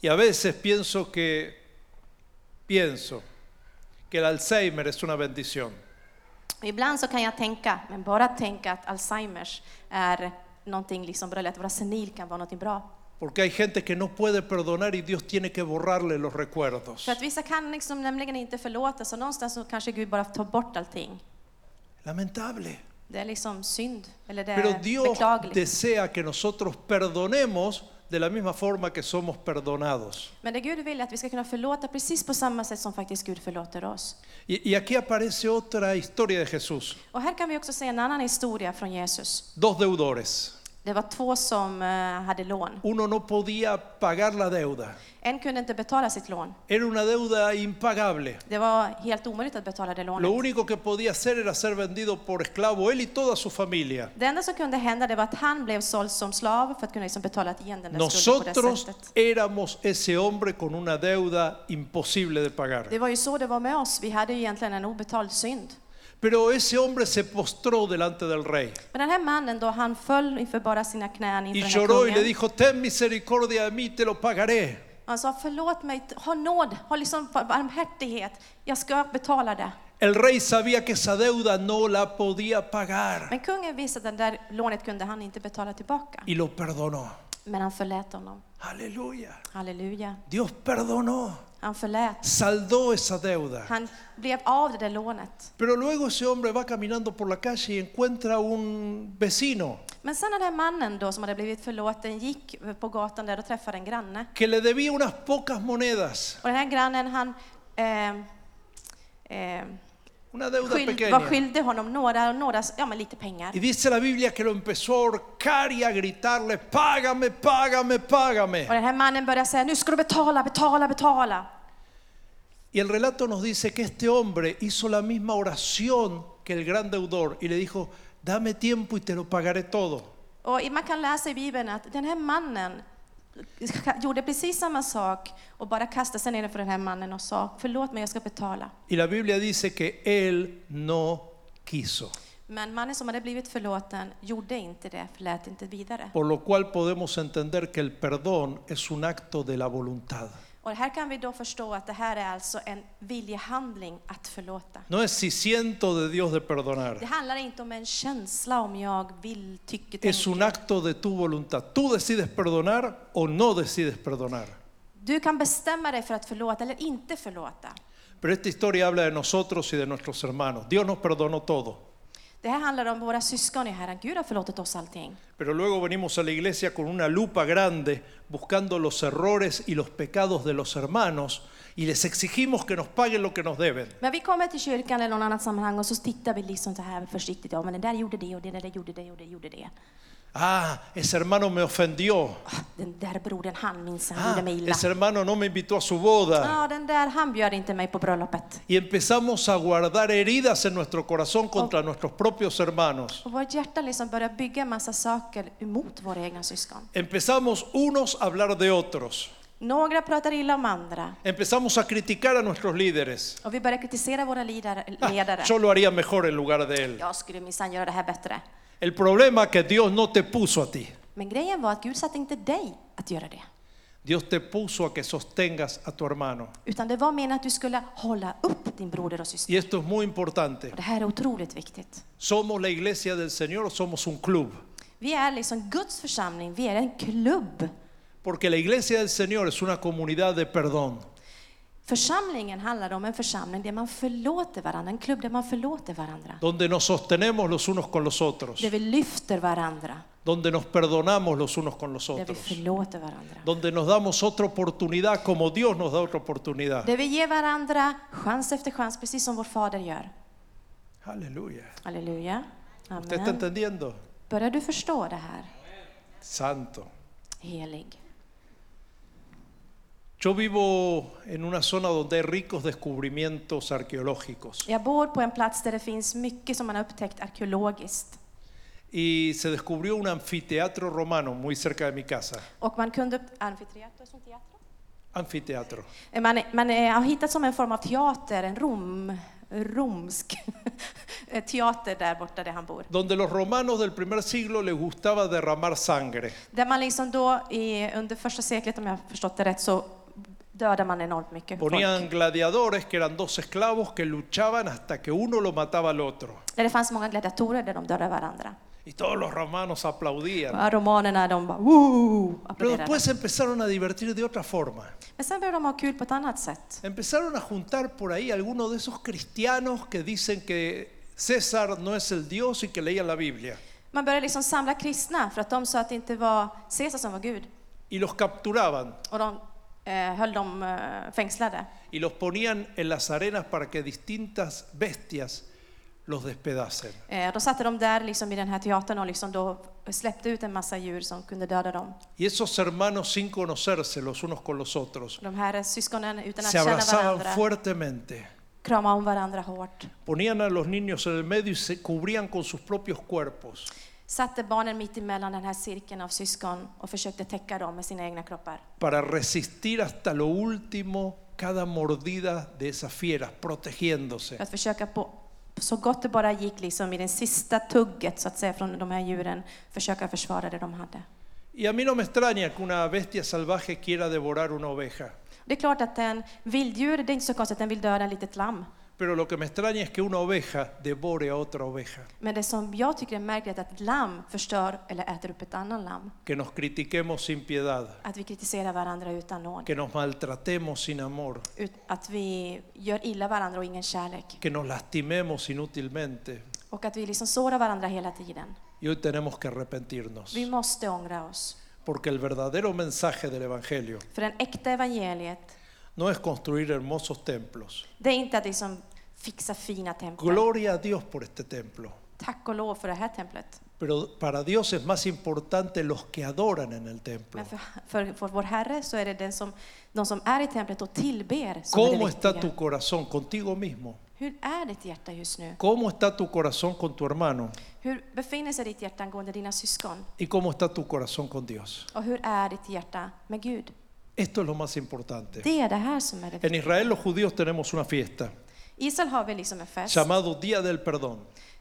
Y a veces pienso que pienso que el Alzheimer es una bendición. Ibland så kan jag tänka, men bara att tänka att Alzheimers är någonting liksom bra, eller att vara senil kan vara någonting bra. Porque hay gente que no puede perdonar y Dios tiene que borrarle los recuerdos. För att vissa kan liksom nämligen inte förlåta, så någonstans så kanske Gud bara tar bort allting. Lamentable. Det är liksom synd, eller det Pero är Dios beklagligt. desea que nosotros perdonemos de la misma forma que somos perdonados. Men det Gud vill är att vi ska kunna förlåta precis på samma sätt som faktiskt Gud förlåter oss. Y, y aquí aparece otra historia de Jesús. Och här kan vi också se en annan historia från Jesus. Dos deudores. Det var två som eh, hade lån. Uno no podía pagar la deuda. En kunde inte betala sitt lån. Era una deuda impagable. Det var helt omöjligt att betala det Lo lånet. único que podía hacer era ser vendido por esclavo él y toda su familia. Det enda som kunde hända det var att han blev såld som slav för att kunna liksom betala igen den där skulden på det Nosotros sättet. éramos ese hombre con una deuda imposible de Det pagar. var ju så det var med oss. Vi hade ju egentligen en obetald synd. Pero ese hombre se postró delante del rey Men den här mannen då, han föll inför bara sina knän y inför den här lloró y le kungen. dijo, ten misericordia de mí, te lo pagaré. Han sa, förlåt mig, ha nåd, ha liksom barmhärtighet. Jag ska betala det. El rey sabía que esa deuda no la podía pagar Men kungen visste att det där lånet kunde han inte betala tillbaka. y lo perdonó. Men han förlät honom. Aleluya. Halleluja. Dios perdonó, Han förlät. saldó esa deuda. Han blev av det där lånet. Pero luego ese hombre va caminando por la calle y encuentra a un vecino Men sen när den här mannen då som hade blivit förlåten gick på gatan där och träffade en granne. que le debía unas pocas monedas. Och den här grannen han... Eh, eh, Una deuda Skyld, pequeña. ehm, var skyldig honom några, några, ja men lite pengar. Y dice la Biblia que lo empezó a ahorcar y a gritarle, págame, págame, págame. Och den här mannen börjar säga, nu ska du betala, betala, betala. Y el relato nos dice que este hombre hizo la misma oración que el gran deudor y le dijo, dame tiempo y te lo pagaré todo. Och man kan läsa i Bibeln att den här mannen gjorde precis samma sak och bara kastade sig ner för den här mannen och sa, förlåt mig, jag ska betala. Y la Biblia dice que él no quiso. Men mannen som hade blivit förlåten gjorde inte det, lät inte vidare. Por lo cual podemos entender que el perdón es un acto de la voluntad. Och här kan vi då förstå att det här är alltså en viljehandling att förlåta. No es si siento de Dios de Det perdonar. handlar inte om en känsla om jag vill, tycker, Es un tänker. acto de tu voluntad. Tú decides perdonar o no decides perdonar. Du kan bestämma dig för att förlåta eller inte förlåta. Pero esta historia habla de nosotros y de nuestros hermanos. Dios nos perdonó todo. Det här handlar om våra syskon i Herren. Gud har förlåtit oss allting. Pero luego venimos a la iglesia con una lupa grande buscando los errores y los pecados de los hermanos y les exigimos que nos paguen lo que nos deben. Men vi kommer till kyrkan eller någon annat sammanhang och så tittar vi liksom så här försiktigt. Ja, men den där gjorde det och den där gjorde det och det gjorde det. Ah, ese hermano me ofendió. Den där brodern, han minns han Ah, gjorde mig illa. ese hermano no me invitó a su boda. Ja, den där, han bjöd inte mig på bröllopet. Y empezamos a guardar heridas en nuestro corazón contra nuestros propios hermanos. Och vårt hjärta liksom börjar bygga en massa saker emot våra egna syskon. Empezamos unos a hablar de otros. Några pratar illa om andra. Empezamos a criticar a nuestros líderes. Och vi börjar kritisera våra lidare- Ah, ledare. yo lo haría mejor en lugar de él. Jag skulle minsann göra det här bättre. El problema es que Dios no te puso a ti. Men grejen var att Gud satte inte dig att göra det. Dios te puso a que sostengas a tu hermano. Utan det var meningen att du skulle hålla upp din broder och syster. Y esto es muy importante. Och det här är otroligt viktigt. ¿Somos la iglesia del Señor o somos un club? Vi är liksom Guds församling, vi är en klubb. Porque la iglesia del Señor es una comunidad de perdón. Församlingen handlar om en församling där man förlåter varandra, en klubb där man förlåter varandra. donde nos sostenemos los unos con los otros, Där vi lyfter varandra, donde nos perdonamos los unos con los där vi otros, förlåter varandra. donde nos damos otra oportunidad como Dios nos da otra oportunidad. Där vi ger varandra chans efter chans, precis som vår Fader gör. Aleluya. Halleluja. ¿Usted está Amen. entendiendo? Börjar du förstå det här, Santo. helig? Yo vivo en una zona donde hay ricos descubrimientos arqueológicos Jag bor på en plats där det finns mycket som man har upptäckt arkeologiskt. y se descubrió un anfiteatro romano muy cerca de mi casa. Och man kunde... upp- Amfiteatro, som teatro? Anfiteatro. Man, man eh, har hittat som en form av teater, en rom, romsk teater där borta där han bor. Donde los romanos del primer siglo les gustaba derramar sangre. Där man liksom då i, under första seklet, om jag har förstått det rätt, så dödar man enormt mycket folk. Ponían gladiadores que eran dos esclavos que luchaban hasta que uno lo mataba al otro. Där det fanns många gladiatorer där de dödade varandra. Y todos los romanos aplaudían. Uh, Och romanerna de bara woo! Pero applåderade. después se empezaron a divertir de otra forma. Men sen började de ha kul på ett annat sätt. Empezaron a juntar por ahí algunos de esos cristianos que dicen que César no es el Dios y que leían la Biblia. Man började liksom samla kristna för att de sa att det inte var Caesar som var Gud. Y los capturaban Och de eh, höll dem eh, fängslade. y los ponían en las arenas para que distintas bestias los despedacen. Eh, Då satte de där liksom i den här teatern och liksom då släppte ut en massa djur som kunde döda dem. Y esos hermanos sin conocerse los unos con los otros De här syskonen, utan att se känna abrazaban varandra, fuertemente. kramade om varandra hårt. Ponían a los niños en el medio y se cubrían con sus propios cuerpos. Satte barnen mitt emellan den här cirkeln av syskon och försökte täcka dem med sina egna kroppar. para resistir hasta lo último cada mordida de esas fieras, protegiéndose. För att försöka på så gott det bara gick liksom i det sista tugget så att säga från de här djuren försöka försvara det de hade. Y a mí no me extraña que una bestia salvaje quiera devorar una oveja, Det är klart att en vilddjur, det är inte så konstigt att den vill döda en litet lamm. pero lo que me extraña es que una oveja devore a otra oveja, Men det som jag tycker är märkligt är att ett lamm förstör eller äter upp ett annat lamm. que nos critiquemos sin piedad, Att vi kritiserar varandra utan nåd. que nos maltratemos sin amor, Ut, att vi gör illa varandra och ingen kärlek. que nos lastimemos inútilmente. Och att vi liksom sårar varandra hela tiden. Y hoy tenemos que arrepentirnos, Vi måste ångra oss. porque el verdadero mensaje del Evangelio För den äkta evangeliet, no es construir hermosos templos, det är inte att liksom fixa fina tempel. Gloria a Dios por este templo. Tack och lov för det här templet. Pero para Dios es más importante los que adoran en el templo. Men för, för, för vår Herre så är det den som, de som är i templet och tillber som är det ¿Cómo está viktiga. tu corazón contigo mismo? Hur är ditt hjärta just nu? ¿Cómo está tu corazón con tu hermano? Hur befinner sig ditt hjärta angående dina syskon? ¿Y cómo está tu corazón con Dios? Och hur är ditt hjärta med Gud? Esto es lo más importante. Det är det här som är det viktiga. En Israel los judíos tenemos una fiesta I Israel har vi liksom en fest llamado Día del Perdón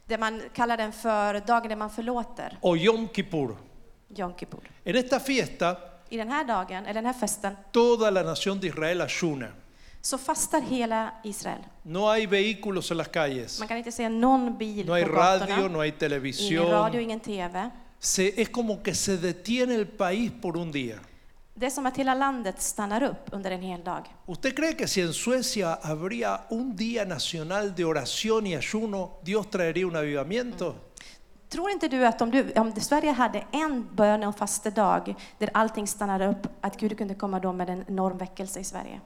där man kallar den för dagen där man förlåter, o Yom Kippur. Yom Kippur. En esta fiesta I den här dagen, eller den här festen, toda la nación de Israel ayuna. så fastar hela Israel. No hay vehículos en las calles, Man kan inte se någon bil no hay på radio, gatorna. no hay Ingen radio, televisión. ingen TV. Se- es como que se detiene el país por un día. Det är som att hela landet stannar upp under en hel dag. ¿Usted cree que si en Suecia habría un día nacional de oración y ayuno, Dios traería un avivamiento? Tror inte du att om, du, om Sverige hade en böne och fastedag där allting stannade upp, att Gud kunde komma då med en enorm väckelse i Sverige?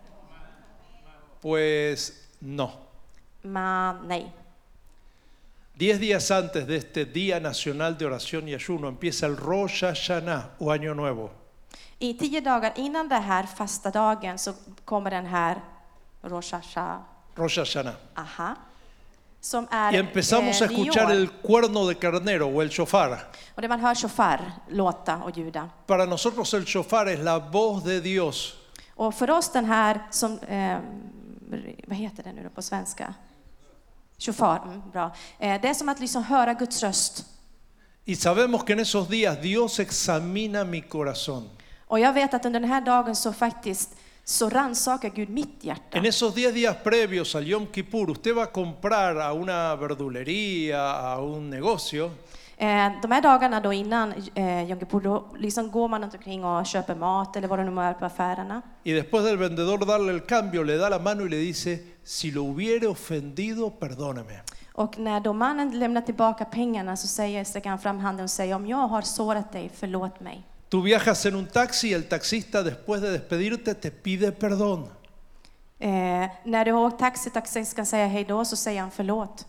Pues no. Men nej. Diez días antes de este Día Nacional de Oración y Ayuno empieza el Rosh Hashanah o Año Nuevo. I tio dagar innan den här fasta dagen så kommer den här Rosh Hashanah, Rosh Hashanah. aha, som är Y empezamos a eh, nyår. escuchar el cuerno de carnero o el shofar. Och där man hör shofar låta och ljuda. Para nosotros el shofar es la voz de Dios. Och för oss den här som, eh, vad heter den nu då på svenska? Shofar, mm, bra. Eh, det är som att liksom höra Guds röst. Y sabemos que en esos días Dios examina mi corazón. Och jag vet att under den här dagen så faktiskt så rannsakar Gud mitt hjärta. En esos 10 días previos al Yom Kippur, usted va a comprar a una verdulería, a un negocio, Eh, de här dagarna då innan eh, Yom Kippur, då liksom går man runt omkring och köper mat eller vad det nu är på affärerna. y después del vendedor darle el cambio, le da la mano y le dice, si lo hubiere ofendido, perdóneme. Och när då mannen lämnar tillbaka pengarna så säger, sträcker han fram handen och säger om jag har sårat dig, förlåt mig. Tú viajas en un taxi y el taxista después de despedirte te pide perdón. Eh, när du har åkt taxi, taxin ska säga hej då, så säger han förlåt.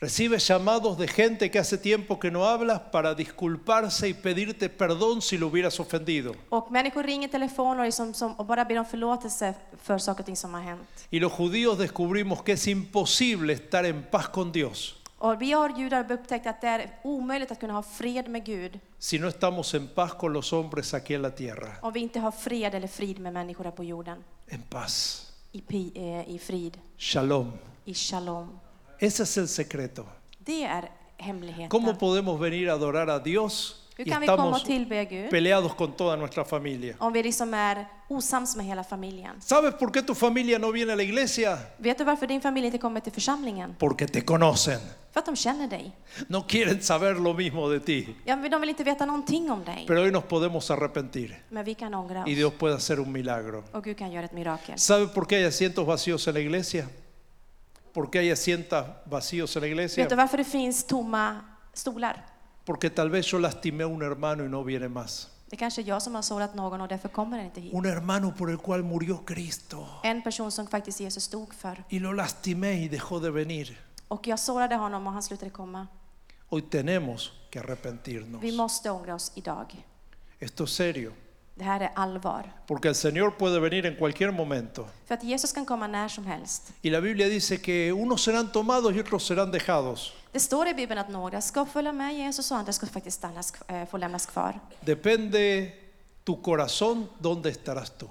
Recibes llamados de gente que hace tiempo que no hablas para disculparse y pedirte perdón si lo hubieras ofendido. Och människor ringer telefoner och, liksom, som, och bara ber om förlåtelse för saker och ting som har hänt. Y los judíos descubrimos que es imposible estar en paz con Dios Och vi har judar upptäckt att det är omöjligt att kunna ha fred med Gud si no estamos en paz con los hombres aquí en la tierra. om vi inte har fred eller frid med människor här på jorden. En paz. I, pi, eh, i frid, Shalom. i shalom. Ese es el secreto. Det är hemligheten. ¿Cómo podemos venir a adorar a Dios Hur y kan vi komma och estamos tillbe Gud peleados con toda nuestra familia? om vi liksom är osams med hela familjen? ¿Sabes por qué tu familia no viene a la iglesia? Vet du varför din familj inte kommer till församlingen? Porque te conocen. För att de känner dig. No quieren saber lo mismo de ti. Ja, men de vill inte veta någonting om dig. Pero hoy nos podemos arrepentir Men vi kan ångra y oss. Dios puede hacer un milagro. Och Gud kan göra ett mirakel. ¿Sabe por qué hay asientos vacíos en la iglesia? ¿Por qué hay asientos vacíos en la iglesia? Vet du varför det finns tomma stolar? Porque tal vez yo lastimé a un hermano y no viene más. Det kanske är jag som har sårat någon och därför kommer den inte hit. Un hermano por el cual murió Cristo. En person som faktiskt Jesus stod för. Y lo lastimé y dejó de venir. Och jag sårade honom och han slutade komma. Hoy tenemos que arrepentirnos. Vi måste ångra oss idag. Esto es serio. Det här är allvar. Porque el Señor puede venir en cualquier momento. För att Jesus kan komma när som helst. Y la Biblia dice que unos serán tomados y otros serán dejados. Det står i Bibeln att några ska följa med Jesus och andra ska faktiskt stannas, eh, få lämnas kvar. Depende tu corazón dónde estarás tú.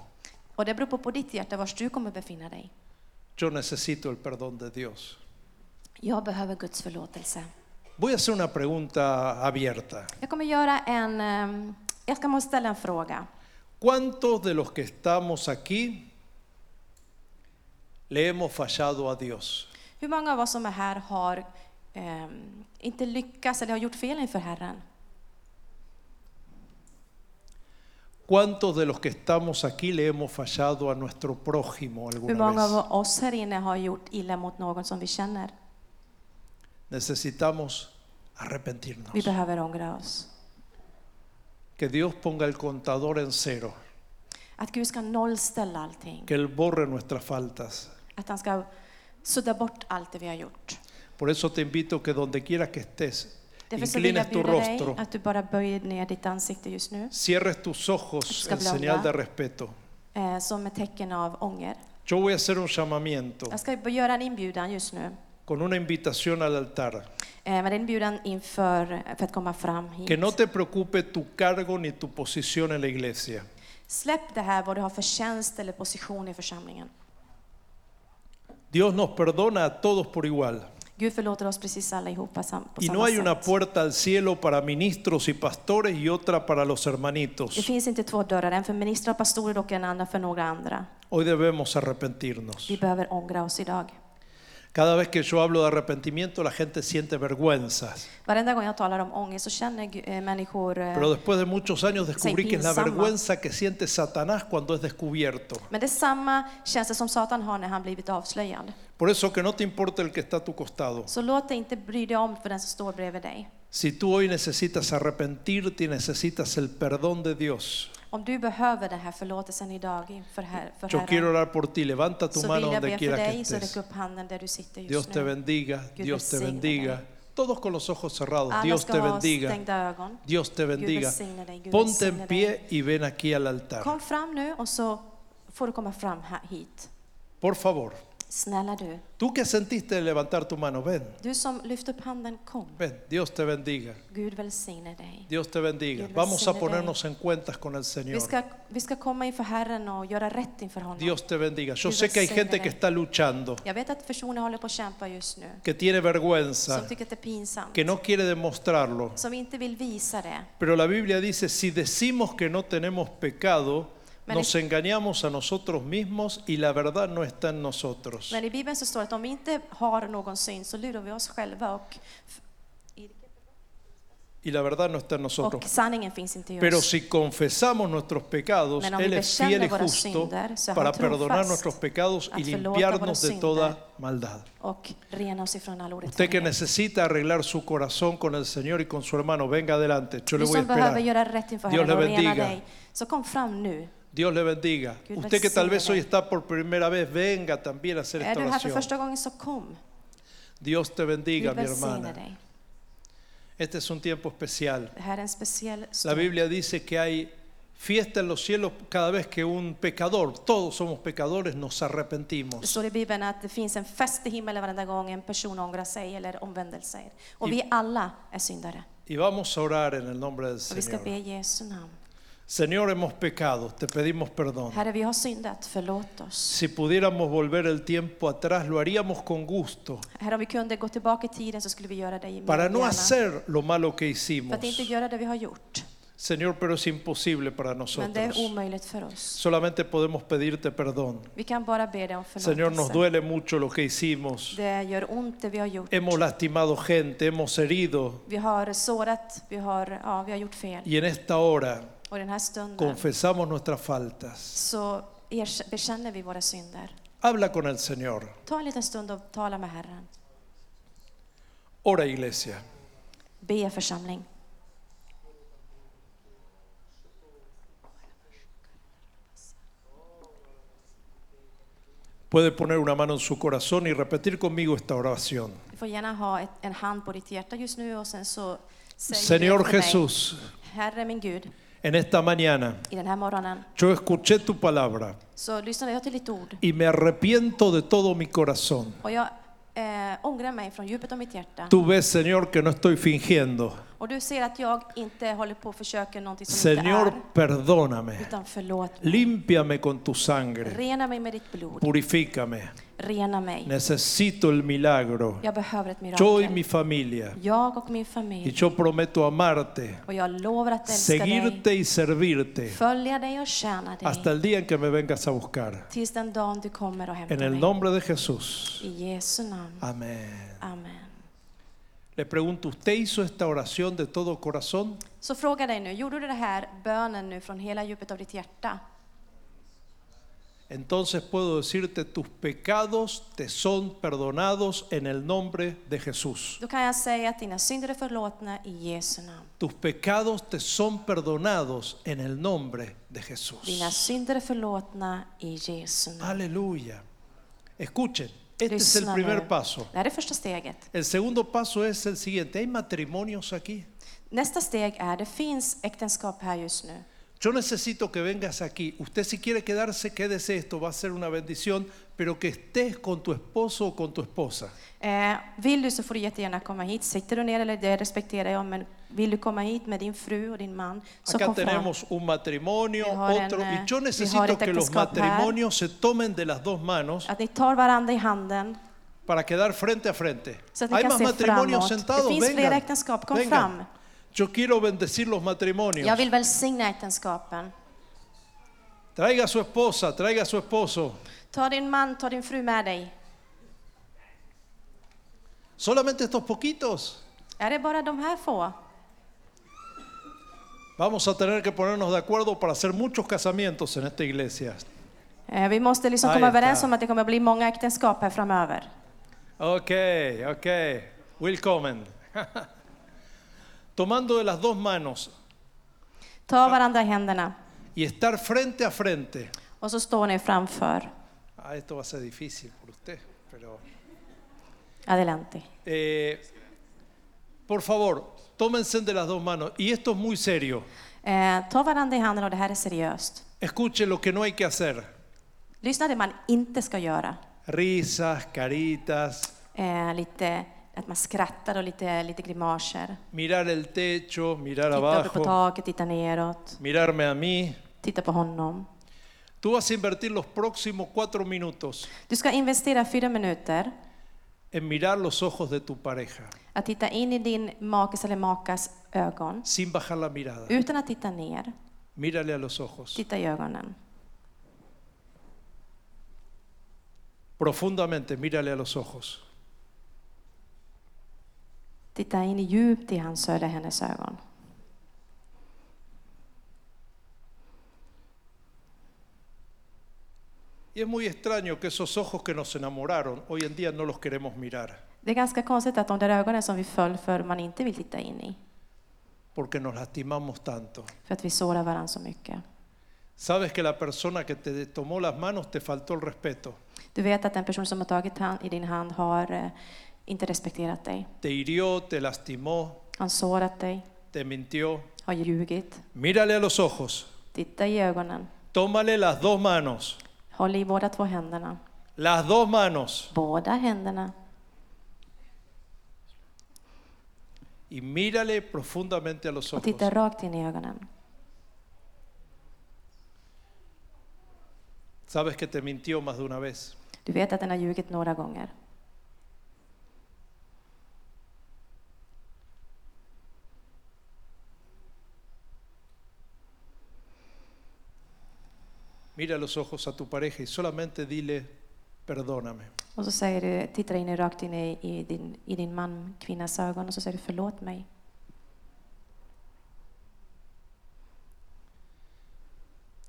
Och det beror på, på ditt hjärta var du kommer befinna dig. Yo necesito el perdón de Dios. Jag behöver Guds förlåtelse. Voy a hacer una pregunta abierta. Jag kommer göra en... ehm, Jag ska måste ställa en fråga. ¿Cuántos de los que estamos aquí le hemos fallado a Dios? Hur många av oss som är här har ehm, inte lyckats eller har gjort fel inför Herren? ¿Cuántos de los que estamos aquí le hemos fallado a nuestro prójimo Hur alguna många vez? av oss här inne har gjort illa mot någon som vi känner? Necesitamos Vi arrepentirnos. behöver ångra oss. Que Dios ponga el contador en cero, Att Gud ska nollställa allting. que Él borre nuestras faltas, Att han ska sudda bort allt det vi har gjort. Por eso te invito que donde quiera que estés, Därför så vill jag inclines tu bjuda dig rostro, att du bara böjer ner ditt ansikte just nu, cierres tus ojos en señal de respeto. eh, som ett tecken av ånger. Yo voy a hacer un llamamiento Jag ska göra en inbjudan just nu, con una invitación al altar. eh, men det är en inbjudan inför, för att komma fram hit. Que no te preocupe tu cargo ni tu posición en la iglesia. Släpp det här vad du har för tjänst eller position i församlingen. Dios nos perdona a todos por igual. Gud förlåter oss precis allihopa sam- på Y samma no hay sätt. una puerta al cielo para ministros y pastores y otra para los Det hermanitos. finns inte två dörrar, en för ministrar och pastorer och en annan för några andra. Hoy debemos arrepentirnos. Vi behöver ångra oss idag. Cada vez que yo hablo de arrepentimiento la gente siente vergüenzas. Varenda gång jag talar om ångest så känner gu- eh, människor... eh, Pero después de muchos años descubrí que es la pinsama. vergüenza que siente Satanás cuando es descubierto. Men det är samma känsla som Satan har när han blivit avslöjad. Por eso que no te importa el que está a tu costado. Så låt dig inte bry dig om för den som står bredvid dig. Si tú hoy necesitas arrepentirte y necesitas el perdón de Dios, Om du behöver den här förlåtelsen idag inför, her- för yo quiero Herren orar por ti. Levanta tu så vill mano jag be donde för quiera que dig, så räck estés. upp handen där du sitter Dios just te nu. bendiga, Dios Dios te bendiga. bendiga. Todos con los ojos cerrados, Alla Dios ska te ha bendiga, stängda ögon. Dios te bendiga. bendiga. Gud Ponte välsigne en dig. pie y ven aquí al altar. Kom fram nu och så får du komma fram här, hit. Por favor, Snälla du, tú que sentiste levantar tu mano, ven, du som lyft upp handen, kom. ven, Dios te bendiga. Gud välsigne dig. Dios te bendiga. Dios Vamos a bendiga. ponernos en cuentas con el Vi Señor. ska, vi ska komma inför Herren och göra rätt inför honom. Dios te bendiga. Yo Dios sé que hay bendiga. gente que está luchando, Jag vet att personer håller på att kämpa just nu, que tiene vergüenza, som tycker att det är pinsamt, que no quiere demostrarlo. som inte vill visa det. Pero la Biblia dice, si decimos que no tenemos pecado, Men nos i- engañamos a nosotros mismos y la verdad no está en nosotros. Men i Bibeln så står det att om vi inte har någon syn så lurar vi oss själva och, Y la verdad no está en och nosotros. sanningen finns inte i Pero oss. si confesamos nuestros pecados, Men om vi Él es fiel y bekänner våra justo synder, så är han para trofast perdonar nuestros pecados y att förlåta våra limpiarnos de synder. toda maldad. Och rena oss ifrån all Usted que orättfärdighet. necesita arreglar su corazón con el Señor y con su hermano, venga adelante. Yo le Du voy a som behöver esperar. göra rätt inför Dios Herren och le rena bendiga. dig, så kom fram nu. Dios le bendiga. Gud Usted que tal välsigne vez hoy dig. está por primera vez, venga también a hacer Är esta du här för oración. första gången så kom. Dios te bendiga, Gud mi välsigne hermana. dig. Este es un tiempo especial. Det här är en speciell La stund. Biblia dice que hay fiesta en los cielos cada vez que un pecador, todos somos pecadores, nos Det arrepentimos. står i Bibeln att det finns en fest i himmelen varenda gång en person ångrar sig eller omvänder sig. Och vi alla är syndare. Y vamos a orar en el nombre del Och vi ska Señor. be i Jesu namn. Señor, hemos pecado, te pedimos perdón. Herre, vi har syndat, förlåt oss. Si pudiéramos volver el tiempo atrás, lo haríamos con gusto, Herre, om vi kunde gå tillbaka i tiden så skulle vi göra det i min para no gärna. hacer lo malo que För hicimos. att inte göra det vi har gjort. Señor, pero es imposible para Men det är nosotros. omöjligt för oss. Solamente podemos pedirte perdón. Vi kan bara be dig om Señor, nos förlåtelse. duele mucho lo que hicimos. Det gör ont det vi har gjort. Hemos lastimado gente, hemos herido. Vi har sårat, vi har, ja, vi har gjort fel. Y en esta hora Och i den här stunden confesamos nuestras faltas. så erk- bekänner vi våra synder. Habla con el Señor. Ta en liten stund och tala med Herren. Ora, iglesia. Be församling. Puede poner una mano en su corazón y repetir conmigo esta oración. Du får gärna ha ett, en hand på ditt hjärta just nu och sen så säger du Señor efter mig, Jesús, Herre min Gud, en esta mañana i den här morgonen yo escuché tu palabra så lyssnade jag till ditt ord y me arrepiento de todo mi corazón. och jag eh, ångrar mig från djupet av mitt hjärta. Tú ves, Señor, que no estoy fingiendo. Och du ser att jag inte håller på och försöker någonting som inte Señor, är, perdóname. utan förlåt mig. Límpiame con tu sangre. Rena mig med ditt blod. Purifícame. Rena mig. Necesito el milagro. Jag behöver ett Yo y mi mirakel. familia. Jag och min Y familj. yo prometo amarte, Och jag lovar att älska dig, seguirte y servirte följa dig och tjäna hasta dig el día en que me vengas a buscar. tills den dagen du kommer och En hämtar el mig. nombre de Jesús. I Jesu namn. Amén. Amen. Le pregunto, ¿usted hizo esta oración de todo corazón? Så fråga dig nu, gjorde du det här bönen nu från hela djupet av ditt hjärta? Entonces puedo decirte, tus pecados te son perdonados en el nombre de Jesús. Då kan jag säga att dina synder är förlåtna i Jesu namn. Tus pecados te son perdonados en el nombre de Dina Jesús. synder är förlåtna i Jesu namn. Aleluya. Escuchen, Este es el Lyssna primer nu. paso. Det här är första steget. El segundo paso es el siguiente. ¿Hay matrimonios aquí? Nästa steg är, det finns äktenskap här just nu. Yo necesito que vengas aquí. Usted si quiere quedarse, quédese. Esto va a ser una bendición, pero que estés con tu esposo o con tu esposa. Eh, vill du så får du jättegärna komma hit. Sitter du ner, eller det respekterar jag, men vill du komma hit med din fru och din man, så Acá kom fram. tenemos un matrimonio, Vi har en, otro, y eh, yo vi har necesito ett que los äktenskap här. matrimonios se tomen de las dos manos Att ni tar varandra i handen, para quedar frente a frente. så att ni Hay kan más se matrimonios framåt. Det sentados, finns flera vengan, äktenskap, kom vengan. fram. Yo quiero bendecir los matrimonios. Jag vill välsigna äktenskapen. Traiga a su esposa, traiga a su esposo. Ta din man, ta din fru med dig. Solamente estos poquitos. Är det bara de här få? Vamos a tener que ponernos de acuerdo para hacer muchos casamientos en esta iglesia. Eh, vi måste liksom Aj, komma överens där. om att det kommer bli många äktenskap här framöver. Ok, ok. Willkommen. Tomando de las dos manos Ta varandra i händerna y estar frente a frente. och så står ni framför Ah, esto va a ser difícil por usted, pero... Adelanti. eh, por favor, tómense de las dos manos. Y esto es muy serio. Eh, ta varandra i handen och det här är seriöst. Escuche lo que no hay que hacer. Lyssna det man inte ska göra. Risas, caritas, Eh, lite, att man skrattar och lite, lite grimaser. mirar el techo, mirar Titta uppe på abajo, taket, titta neråt, mirarme a mí. titta på honom. Tú vas a invertir los próximos cuatro minutos Du ska investera fyra minuter en mirar los ojos de tu pareja, att titta in i din makes eller makas ögon sin bajar la mirada. utan att titta ner. Mírale a los ojos, Titta i ögonen. profundamente, mírale a los ojos. Titta in djupt i hans eller hennes ögon. Y es muy extraño que esos ojos que nos enamoraron, hoy en día no los queremos mirar, Det är ganska konstigt att de där ögonen som vi föll för man inte vill titta in i. porque nos lastimamos tanto. För att vi sårar varandra så mycket. Sabes que la persona que te tomó las manos te faltó el respeto, Du vet att den person som har tagit hand i din hand har eh, inte respekterat dig. te hirió, te lastimó, Han sårat dig, te mintió. har ljugit. Mírale a los ojos, Titta i ögonen. tómale las dos manos, Håll i båda två händerna. las dos manos. Båda händerna. y mírale profundamente a los Och ojos. titta rakt in i ögonen. Sabes que te mintió más de una vez. Du vet att den har ljugit några gånger. Mira a los ojos a tu pareja y solamente dile, perdóname. Och så säger du, tittar in i, rakt in i, i, din, i din man, kvinnas ögon och så säger du förlåt mig.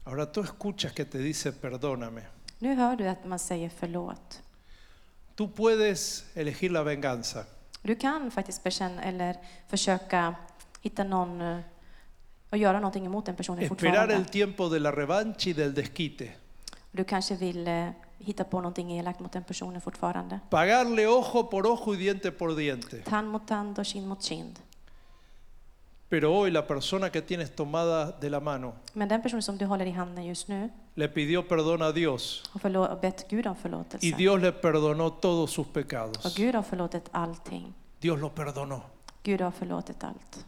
Ahora tú escuchas que te dice, perdóname. Nu hör du att man säger förlåt. Tú puedes elegir la venganza. Du kan faktiskt bekänna eller försöka hitta någon eh, och göra någonting emot den personen Esperar fortfarande. el tiempo de la revancha y del desquite. Du kanske vill eh, hitta på någonting elakt mot den personen fortfarande. Pagarle ojo por ojo y diente por diente. Tand mot tand och kind mot kind. Pero hoy la persona que tienes tomada de la mano Men den person som du håller i handen just nu le pidió perdón a Dios har förlo- har bett Gud om y förlåtelse. Dios le perdonó todos sus Och pecados. Gud har förlåtit allting. Dios lo perdonó. Gud har förlåtit allt.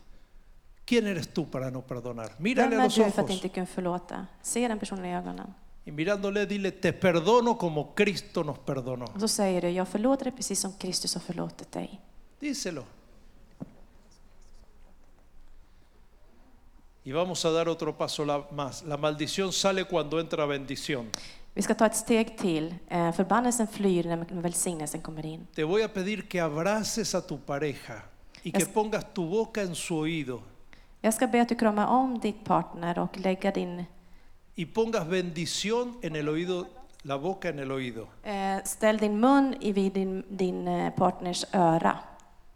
¿Quién eres tú para no perdonar? Vem Mírale a är los du för att ojos inte kunna förlåta? Se den personen i ögonen. y mirándole dile, te perdono como Cristo nos perdonó. Och så säger du, jag förlåter dig precis som Kristus har förlåtit dig. Díselo. Y vamos a dar otro paso la- más. La maldición sale cuando entra bendición. Vi ska ta ett steg till. Eh, Förbannelsen flyr när välsignelsen kommer in. Te voy a pedir que abraces a tu pareja y que Es- pongas tu boca en su oído Jag ska be att du kramar om ditt partner och lägga din, y pongas bendición en el oído, la boca en el oído. eh, ställ din mun i- vid din, din eh, partners öra.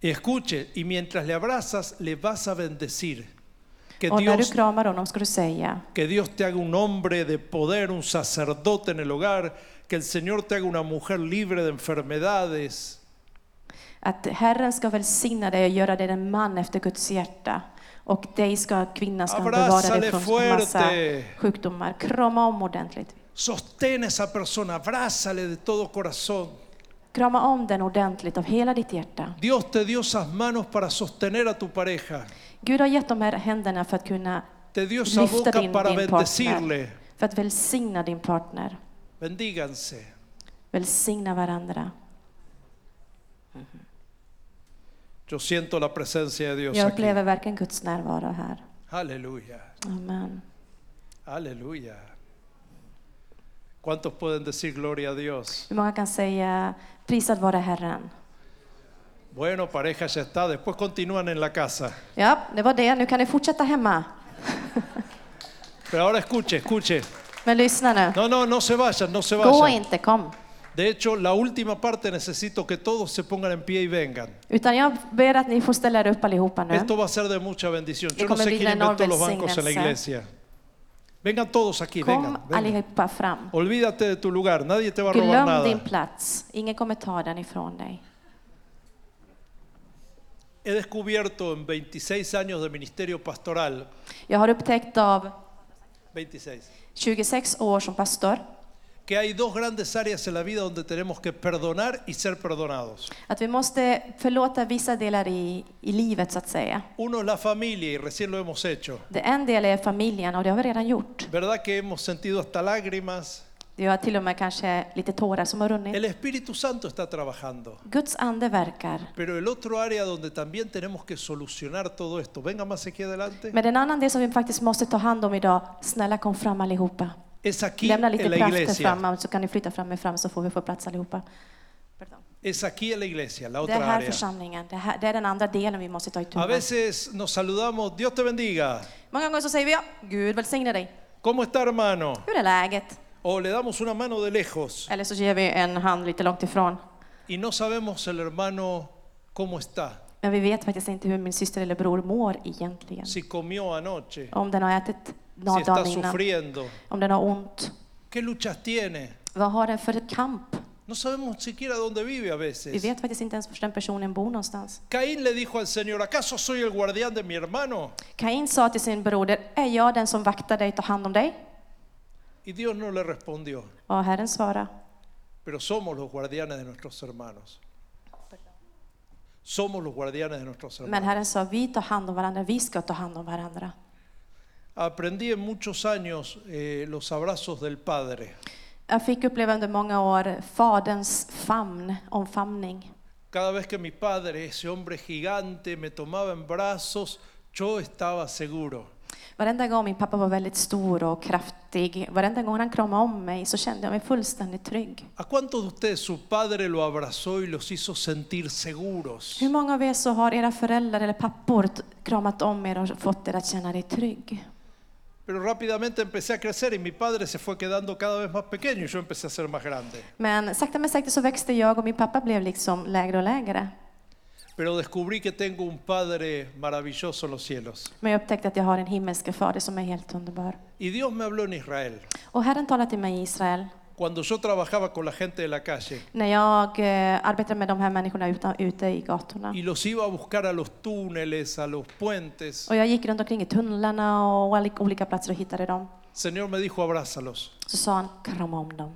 Y escuche, y mientras le abrazas, le vas a bendecir. Que Och när du Dios kramar honom ska du säga, Que Dios te haga un hombre de poder, un sacerdote en el hogar, que el Señor te haga una mujer libre de enfermedades, Att Herren ska välsigna dig och göra dig en man efter Guds hjärta. Och dig ska kvinnan ska han bevara dig Abrázale från massa fuerte. sjukdomar. Krama om ordentligt. sostén a esa persona, abrázale de todo corazón. Krama om den ordentligt av hela ditt hjärta. Dios te dio esas manos para sostener a tu pareja, Gud har gett de här händerna för att kunna te dio esa lyfta boca din, para din partner. bendecirle. För att välsigna din partner. Bendíganse. Välsigna varandra. Yo siento la presencia de Dios Jag aquí. upplever verkligen Guds närvaro här. Aleluya, Amen. aleluya. ¿Cuántos pueden decir gloria a Dios? Hur många kan säga prisad vare Herren? Bueno, pareja ya está, después continúan en la casa. Ja, det var det. Nu kan ni fortsätta hemma. Pero ahora escuche, escuche. Men lyssna nu. No, no, no se vayan, no se Gå vayan. inte, kom. De hecho, la última parte necesito que todos se pongan en pie y vengan. Utan jag ber att ni får ställa er upp allihopa nu. Esto va a ser de mucha bendición. Yo Y no como sé vi quién la inventó los Norbert bancos en la Singers, ¿eh? iglesia. Vengan todos aquí, Kom vengan. vengan. allihopa fram. Olvídate de tu lugar, nadie te va a robar Glöm nada. din plats. Ingen kommer ta den ifrån dig. He descubierto en 26 años de ministerio pastoral, Jag har upptäckt av 26, 26 år som pastor que hay dos grandes áreas en la vida donde tenemos que perdonar y ser perdonados. att vi måste förlåta vissa delar i, i livet så att säga. Uno es la familia y recién lo hemos hecho. Det en del är familjen och det har vi redan gjort. ¿Verdad que hemos sentido hasta lágrimas? Det har till och med kanske lite tårar som har runnit. El Espíritu Santo está trabajando. Guds ande verkar. Pero el otro área donde también tenemos que solucionar todo esto, venga más aquí adelante, Men en annan del som vi faktiskt måste ta hand om idag, snälla kom fram allihopa. es aquí Lämna en lite la krafter iglesia. fram så kan ni flytta fram er fram så får vi få plats allihopa. Pardon. Es aquí en la iglesia, la Det är otra här área. församlingen, det, här, det är den andra delen vi måste ta itu A med. veces nos saludamos, Dios te bendiga, Många gånger så säger vi ja, Gud välsigne dig. ¿cómo está hermano? Hur är läget? O le damos una mano de lejos Eller så ger vi en hand lite långt ifrån. y no sabemos el hermano cómo está, Men vi vet faktiskt inte hur min syster eller bror mår egentligen. si comió anoche, Om den har ätit si några está dagar innan, sufriendo, om den har ont. qué luchas tiene. Vad har den för kamp? No sabemos siquiera dónde vive a Vi veces. vet faktiskt inte ens var den personen bor någonstans. Caín le dijo al Señor, ¿acaso soy el guardián de mi hermano? Kain sa till sin broder, är jag den som vaktar dig, tar hand om dig? Y Dios no le respondió. Och Herren svarade, pero somos los guardianes de nuestros hermanos. Somos los guardianes de nuestros men hermanos. Herren sa, vi tar hand om varandra, vi ska ta hand om varandra. Aprendí en muchos años eh, los abrazos del Padre. Jag fick uppleva under många år Faderns famn, omfamning. Cada vez que mi padre, ese hombre gigante, me tomaba en brazos, yo estaba seguro. Varenda gång min pappa var väldigt stor och kraftig, varenda gång han kramade om mig så kände jag mig fullständigt trygg. ¿A cuántos de ustedes su padre lo abrazó y los hizo sentir seguros? Hur många av er så har era föräldrar eller pappor t- kramat om er och fått er att känna dig trygg? Pero rápidamente empecé a crecer y mi padre se fue quedando cada vez más pequeño y yo empecé a ser más grande. Men sakta men säkert så växte jag och min pappa blev liksom lägre och lägre. Pero descubrí que tengo un padre maravilloso en los cielos. Men jag upptäckte att jag har en himmelske fader som är helt underbar. Y Dios me habló en Israel, Och Herren talade till mig i Israel cuando yo trabajaba con la gente de la calle när jag eh, arbetade med de här människorna utan, ute i gatorna. y los iba a buscar a los túneles, a los puentes. Och jag gick runt omkring i tunnlarna och alla olika platser och hittade dem. El Señor me dijo, abrázalos. Så sa han, krama om dem.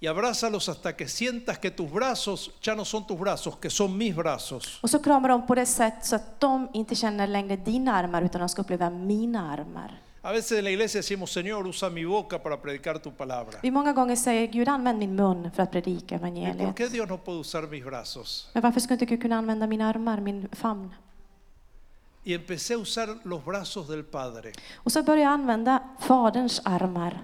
Y abrázalos hasta que sientas que tus brazos ya no son tus brazos, que son mis brazos. Och så kramar de på det sätt så att de inte känner längre dina armar utan de ska uppleva mina armar. A veces en la iglesia decimos, Señor, usa mi boca para predicar tu palabra. Vi många gånger säger Gud använd min mun för att predika ¿Y por evangeliet. qué Dios no puede usar mis brazos? Men varför skulle inte Gud kunna använda mina armar, min famn? Y empecé a usar los brazos del Padre. Och så började jag använda Faderns armar.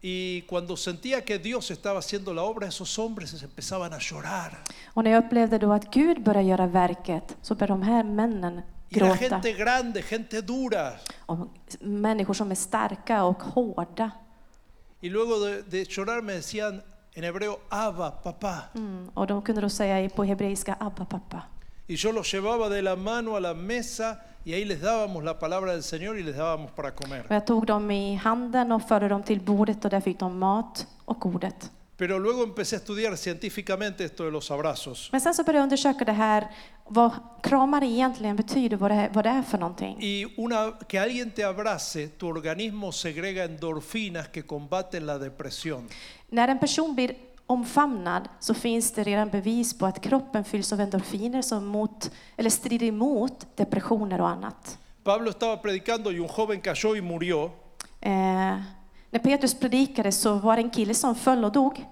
Y cuando sentía que Dios estaba haciendo la obra, esos hombres empezaban a llorar. Och när jag upplevde då att Gud började göra verket så började de här männen Y era gråta. gente grande, gente dura. Och människor som är starka och hårda. Y luego de, de llorar me decían en hebreo, Abba, papá. Mm. Och de kunde då säga på hebreiska Abba pappa. Y yo los llevaba de la mano a la mesa Y ahí les dábamos la palabra del Señor y les dábamos para comer. Och jag tog dem i handen och förde dem till bordet och där fick de mat och ordet. Pero luego empecé a estudiar científicamente esto de los abrazos. Men sen så började jag undersöka det här, vad kramar egentligen betyder, vad det, här- vad det är för någonting. Y una, que alguien te abrace, tu organismo segrega endorfinas que combaten la depresión. När en person blir omfamnad så finns det redan bevis på att kroppen fylls av endorfiner som mot, eller strider emot depressioner och annat. Pablo estaba predicando y un joven cayó y murió. Eh, när Petrus predikade så var det en kille som föll och dog.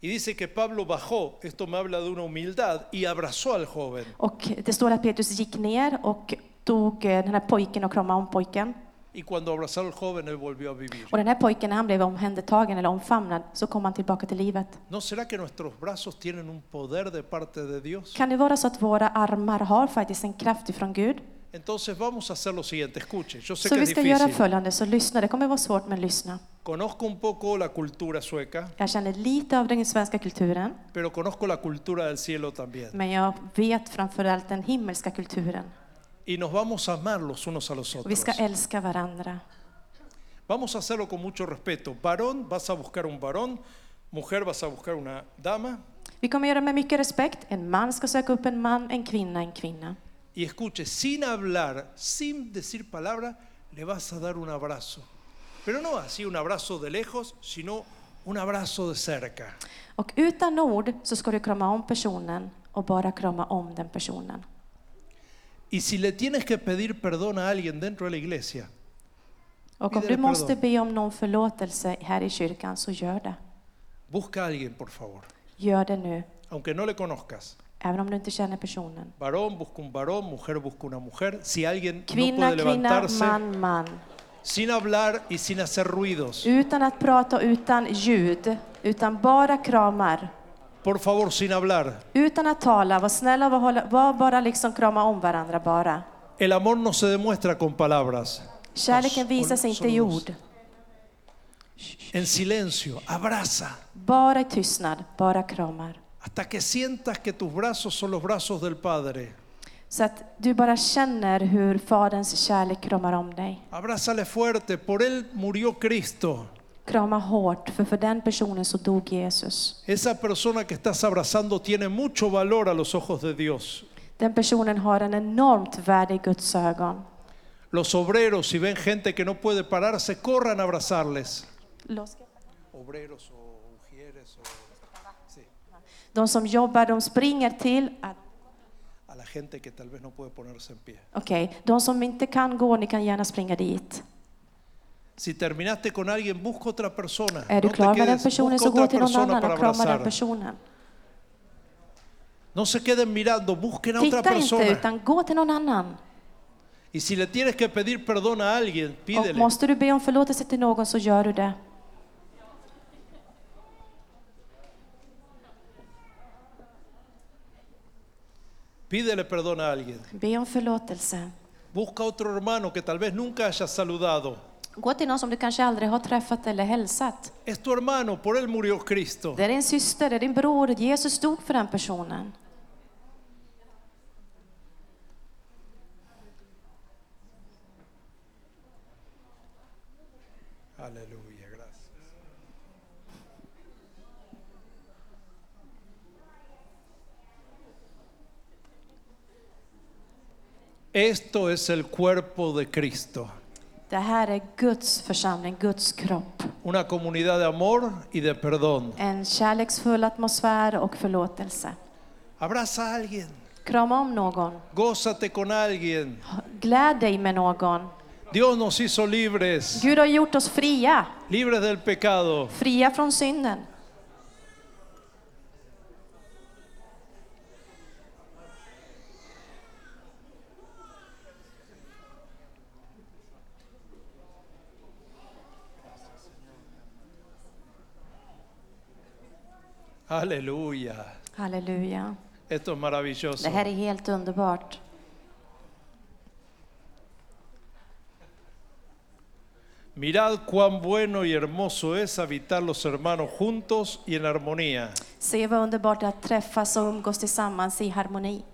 Y dice que Pablo bajó, esto me habla de una humildad, y abrazó al joven. Och det står att Petrus gick ner och tog eh, den här pojken och kramade om pojken. Y cuando abrazó al joven, él volvió a vivir. Och den här pojken, när han blev omhändertagen eller omfamnad, så kom han tillbaka till livet. ¿No será que nuestros brazos tienen un poder de parte de Dios? Kan det vara så att våra armar har faktiskt en kraft ifrån Gud? Entonces vamos a hacer lo siguiente, escuche, yo sé Så que vi es ska göra difícil. följande, så lyssna. Det kommer vara svårt, men lyssna. Conozco un poco la cultura sueca, Jag känner lite av den svenska kulturen, pero conozco la cultura del cielo también. men jag vet framförallt den himmelska kulturen. Y nos vamos a amar los unos a los Och vi otros. ska älska varandra. Vamos a hacerlo con mucho respeto. Varón, vas a buscar un varón. Mujer, vas a buscar una dama. Vi kommer göra med mycket respekt. En man ska söka upp en man, en kvinna, en kvinna. Y escuche, sin hablar, sin decir palabra, le vas a dar un abrazo. Pero no así un abrazo de lejos, sino un abrazo de cerca. Och utan ord så ska du krama om personen och bara krama om den personen. Y si le tienes que pedir perdón a alguien dentro de la iglesia, Och om Vidare du på det måste då. be om någon förlåtelse här i kyrkan, så gör det. busca a alguien, por favor. Gör det nu, Aunque no le conozcas. även om du inte känner personen. Varón busca un varón, mujer busca una mujer. Si alguien no Kvinna, puede kvinna, levantarse, man, man. sin hablar y sin hacer ruidos. Utan att prata, utan ljud, utan bara kramar. Por favor, sin hablar. Utan att tala, var snälla, var, hålla, var bara liksom krama om varandra bara. El amor no se demuestra con palabras, Kärleken Oss- visar sig oss- inte i oss. ord, en silencio, abraza, bara i tystnad, bara kramar. hasta que sientas que tus brazos son los brazos del Padre. Så att du bara känner hur Faderns kärlek kramar om dig. Abrázale fuerte, por Él murió Cristo. Krama hårt, för för den personen så dog Jesus. Esa persona que estás abrazando tiene mucho valor a los ojos de Dios. Den personen har en enormt värde i Guds ögon. Los obreros, si ven gente que no puede pararse, corran a abrazarles. Obreros o ujieres o... Sí, De som jobbar, de springer till att a la gente que tal vez no puede ponerse en pie. Okej, de som inte kan gå, ni kan gärna springa dit. Si terminaste con alguien, busca otra persona. Är du no te klar med den quedes, personen busca så gå otra till någon persona annan para och krama den abrazar. personen. No se queden mirando, busquen a otra Titta inte, persona. utan gå till någon annan. Y si le tienes que pedir perdón a alguien, Och pídele. måste du be om förlåtelse till någon så gör du det. Pídele perdón a alguien. Be om förlåtelse. Busca a otro hermano que tal vez nunca hayas saludado. Gå till någon som du kanske aldrig har träffat eller hälsat. Es tu hermano, por él murió Cristo. Det är din syster, det är din bror. Jesus dog för den personen. Aleluya, gracias. Esto es el cuerpo de Cristo, Det här är Guds församling, Guds kropp. una comunidad de amor y de perdón. En kärleksfull atmosfär och förlåtelse. Abraza a alguien, Krama om någon. gózate con alguien. Gläd dig med någon. Dios nos hizo libres, Gud har gjort oss fria. libres del pecado. Fria från synden. Aleluya. Halleluja. Esto es maravilloso. Det här är helt underbart. Mirad cuán bueno y hermoso es habitar los hermanos juntos y en armonía. Se vad underbart det är att träffas och umgås tillsammans i harmoni.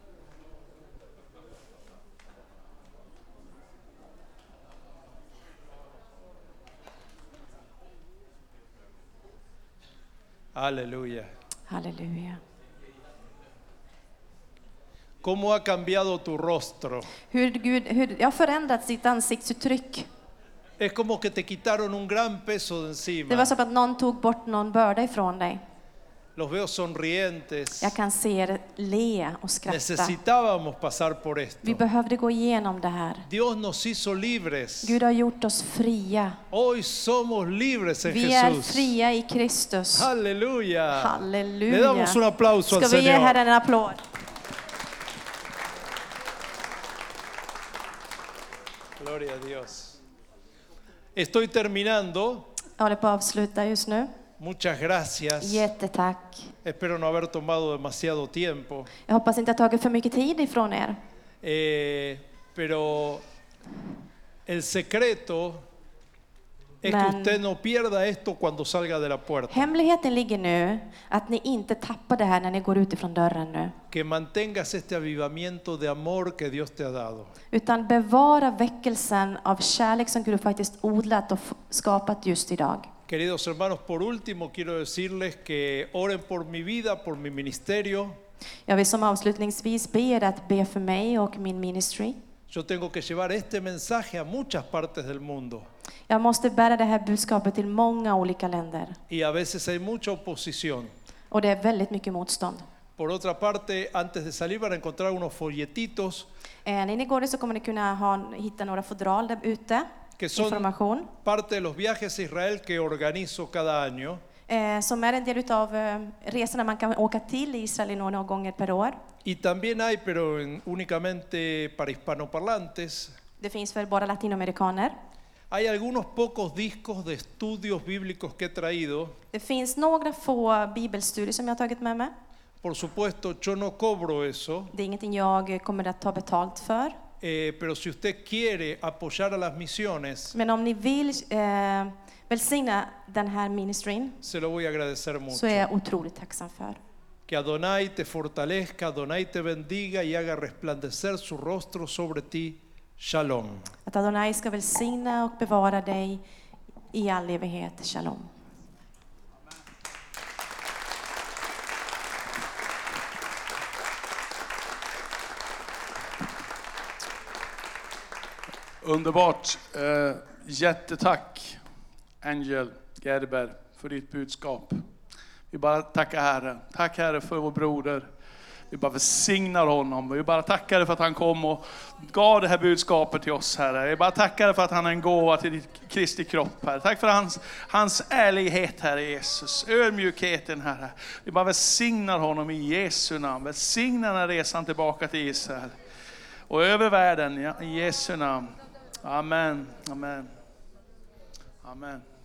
Aleluya. Halleluja. ¿Cómo ha cambiado tu rostro? Hur Gud hur, jag har förändrat sitt ansiktsuttryck. Es como que te quitaron un gran peso de Det var encima. som att någon tog bort någon börda ifrån dig. Los veo sonrientes. Jag kan se er le och skratta. Necesitábamos pasar por esto. Vi behövde gå igenom det här. Dios nos hizo libres. Gud har gjort oss fria. Hoy somos libres en Vi är Jesús. fria i Kristus. Aleluya. Le Halleluja. damos un aplauso Ska al vi ge Señor. Herren en applåd? Gloria a Dios. Estoy terminando. Jag håller på att avsluta just nu. Muchas gracias. Jättetack. Espero no haber tomado demasiado tiempo. Jag hoppas inte jag har tagit för mycket tid ifrån er. Eh, pero el secreto es que Man. usted no pierda esto cuando salga de la puerta. Hemligheten ligger nu att ni inte tappar det här när ni går ut ifrån dörren nu. Que mantengas este avivamiento de amor que Dios te ha dado. Utan bevara väckelsen av kärlek som Gud faktiskt odlat och f- skapat just idag. Queridos hermanos, por último quiero decirles que oren por mi vida, por mi ministerio. Jag vill som avslutningsvis be er att be för mig och min ministry. Yo tengo que llevar este mensaje a muchas partes del mundo Jag måste bära det här budskapet till många olika länder y a veces hay mucha oposición. och det är väldigt mycket motstånd. Por otra parte, antes de salir van a encontrar unos folletitos Eh, när ni går där så kommer ni kunna ha, hitta några fodral där ute, Que son- information, parte de los viajes a Israel que organizo cada año eh, som är en del av eh, resorna man kan åka till i Israel några gånger per år. y también hay, pero en- únicamente para hispanoparlantes, Det finns väl bara latinamerikaner. hay algunos pocos discos de estudios bíblicos que he traído. Det finns några få bibelstudier som jag har tagit med mig. Por supuesto, yo no cobro eso, Det är ingenting jag kommer att ta betalt för. eh, pero si usted quiere apoyar a las misiones, Men om ni vill eh, välsigna den här ministrin se lo voy a agradecer mucho. så är jag otroligt tacksam för. Que Adonai te fortalezca, Adonai te bendiga y haga resplandecer su rostro sobre ti. Shalom. Att Adonai ska välsigna och bevara dig i all evighet. Shalom. Underbart. Eh, jättetack Angel Gerber för ditt budskap. Vi bara tackar Herren. Tack Herre för vår broder. Vi bara välsignar honom. Vi bara tackar dig för att han kom och gav det här budskapet till oss Herre. Vi bara tackar dig för att han är en gåva till ditt Kristi kropp Herre. Tack för hans, hans ärlighet Herre Jesus. Ödmjukheten Herre. Vi bara välsignar honom i Jesu namn. Välsigna den här resan tillbaka till Israel och över världen. ja, I Jesu namn. Amen. Amen. Amen.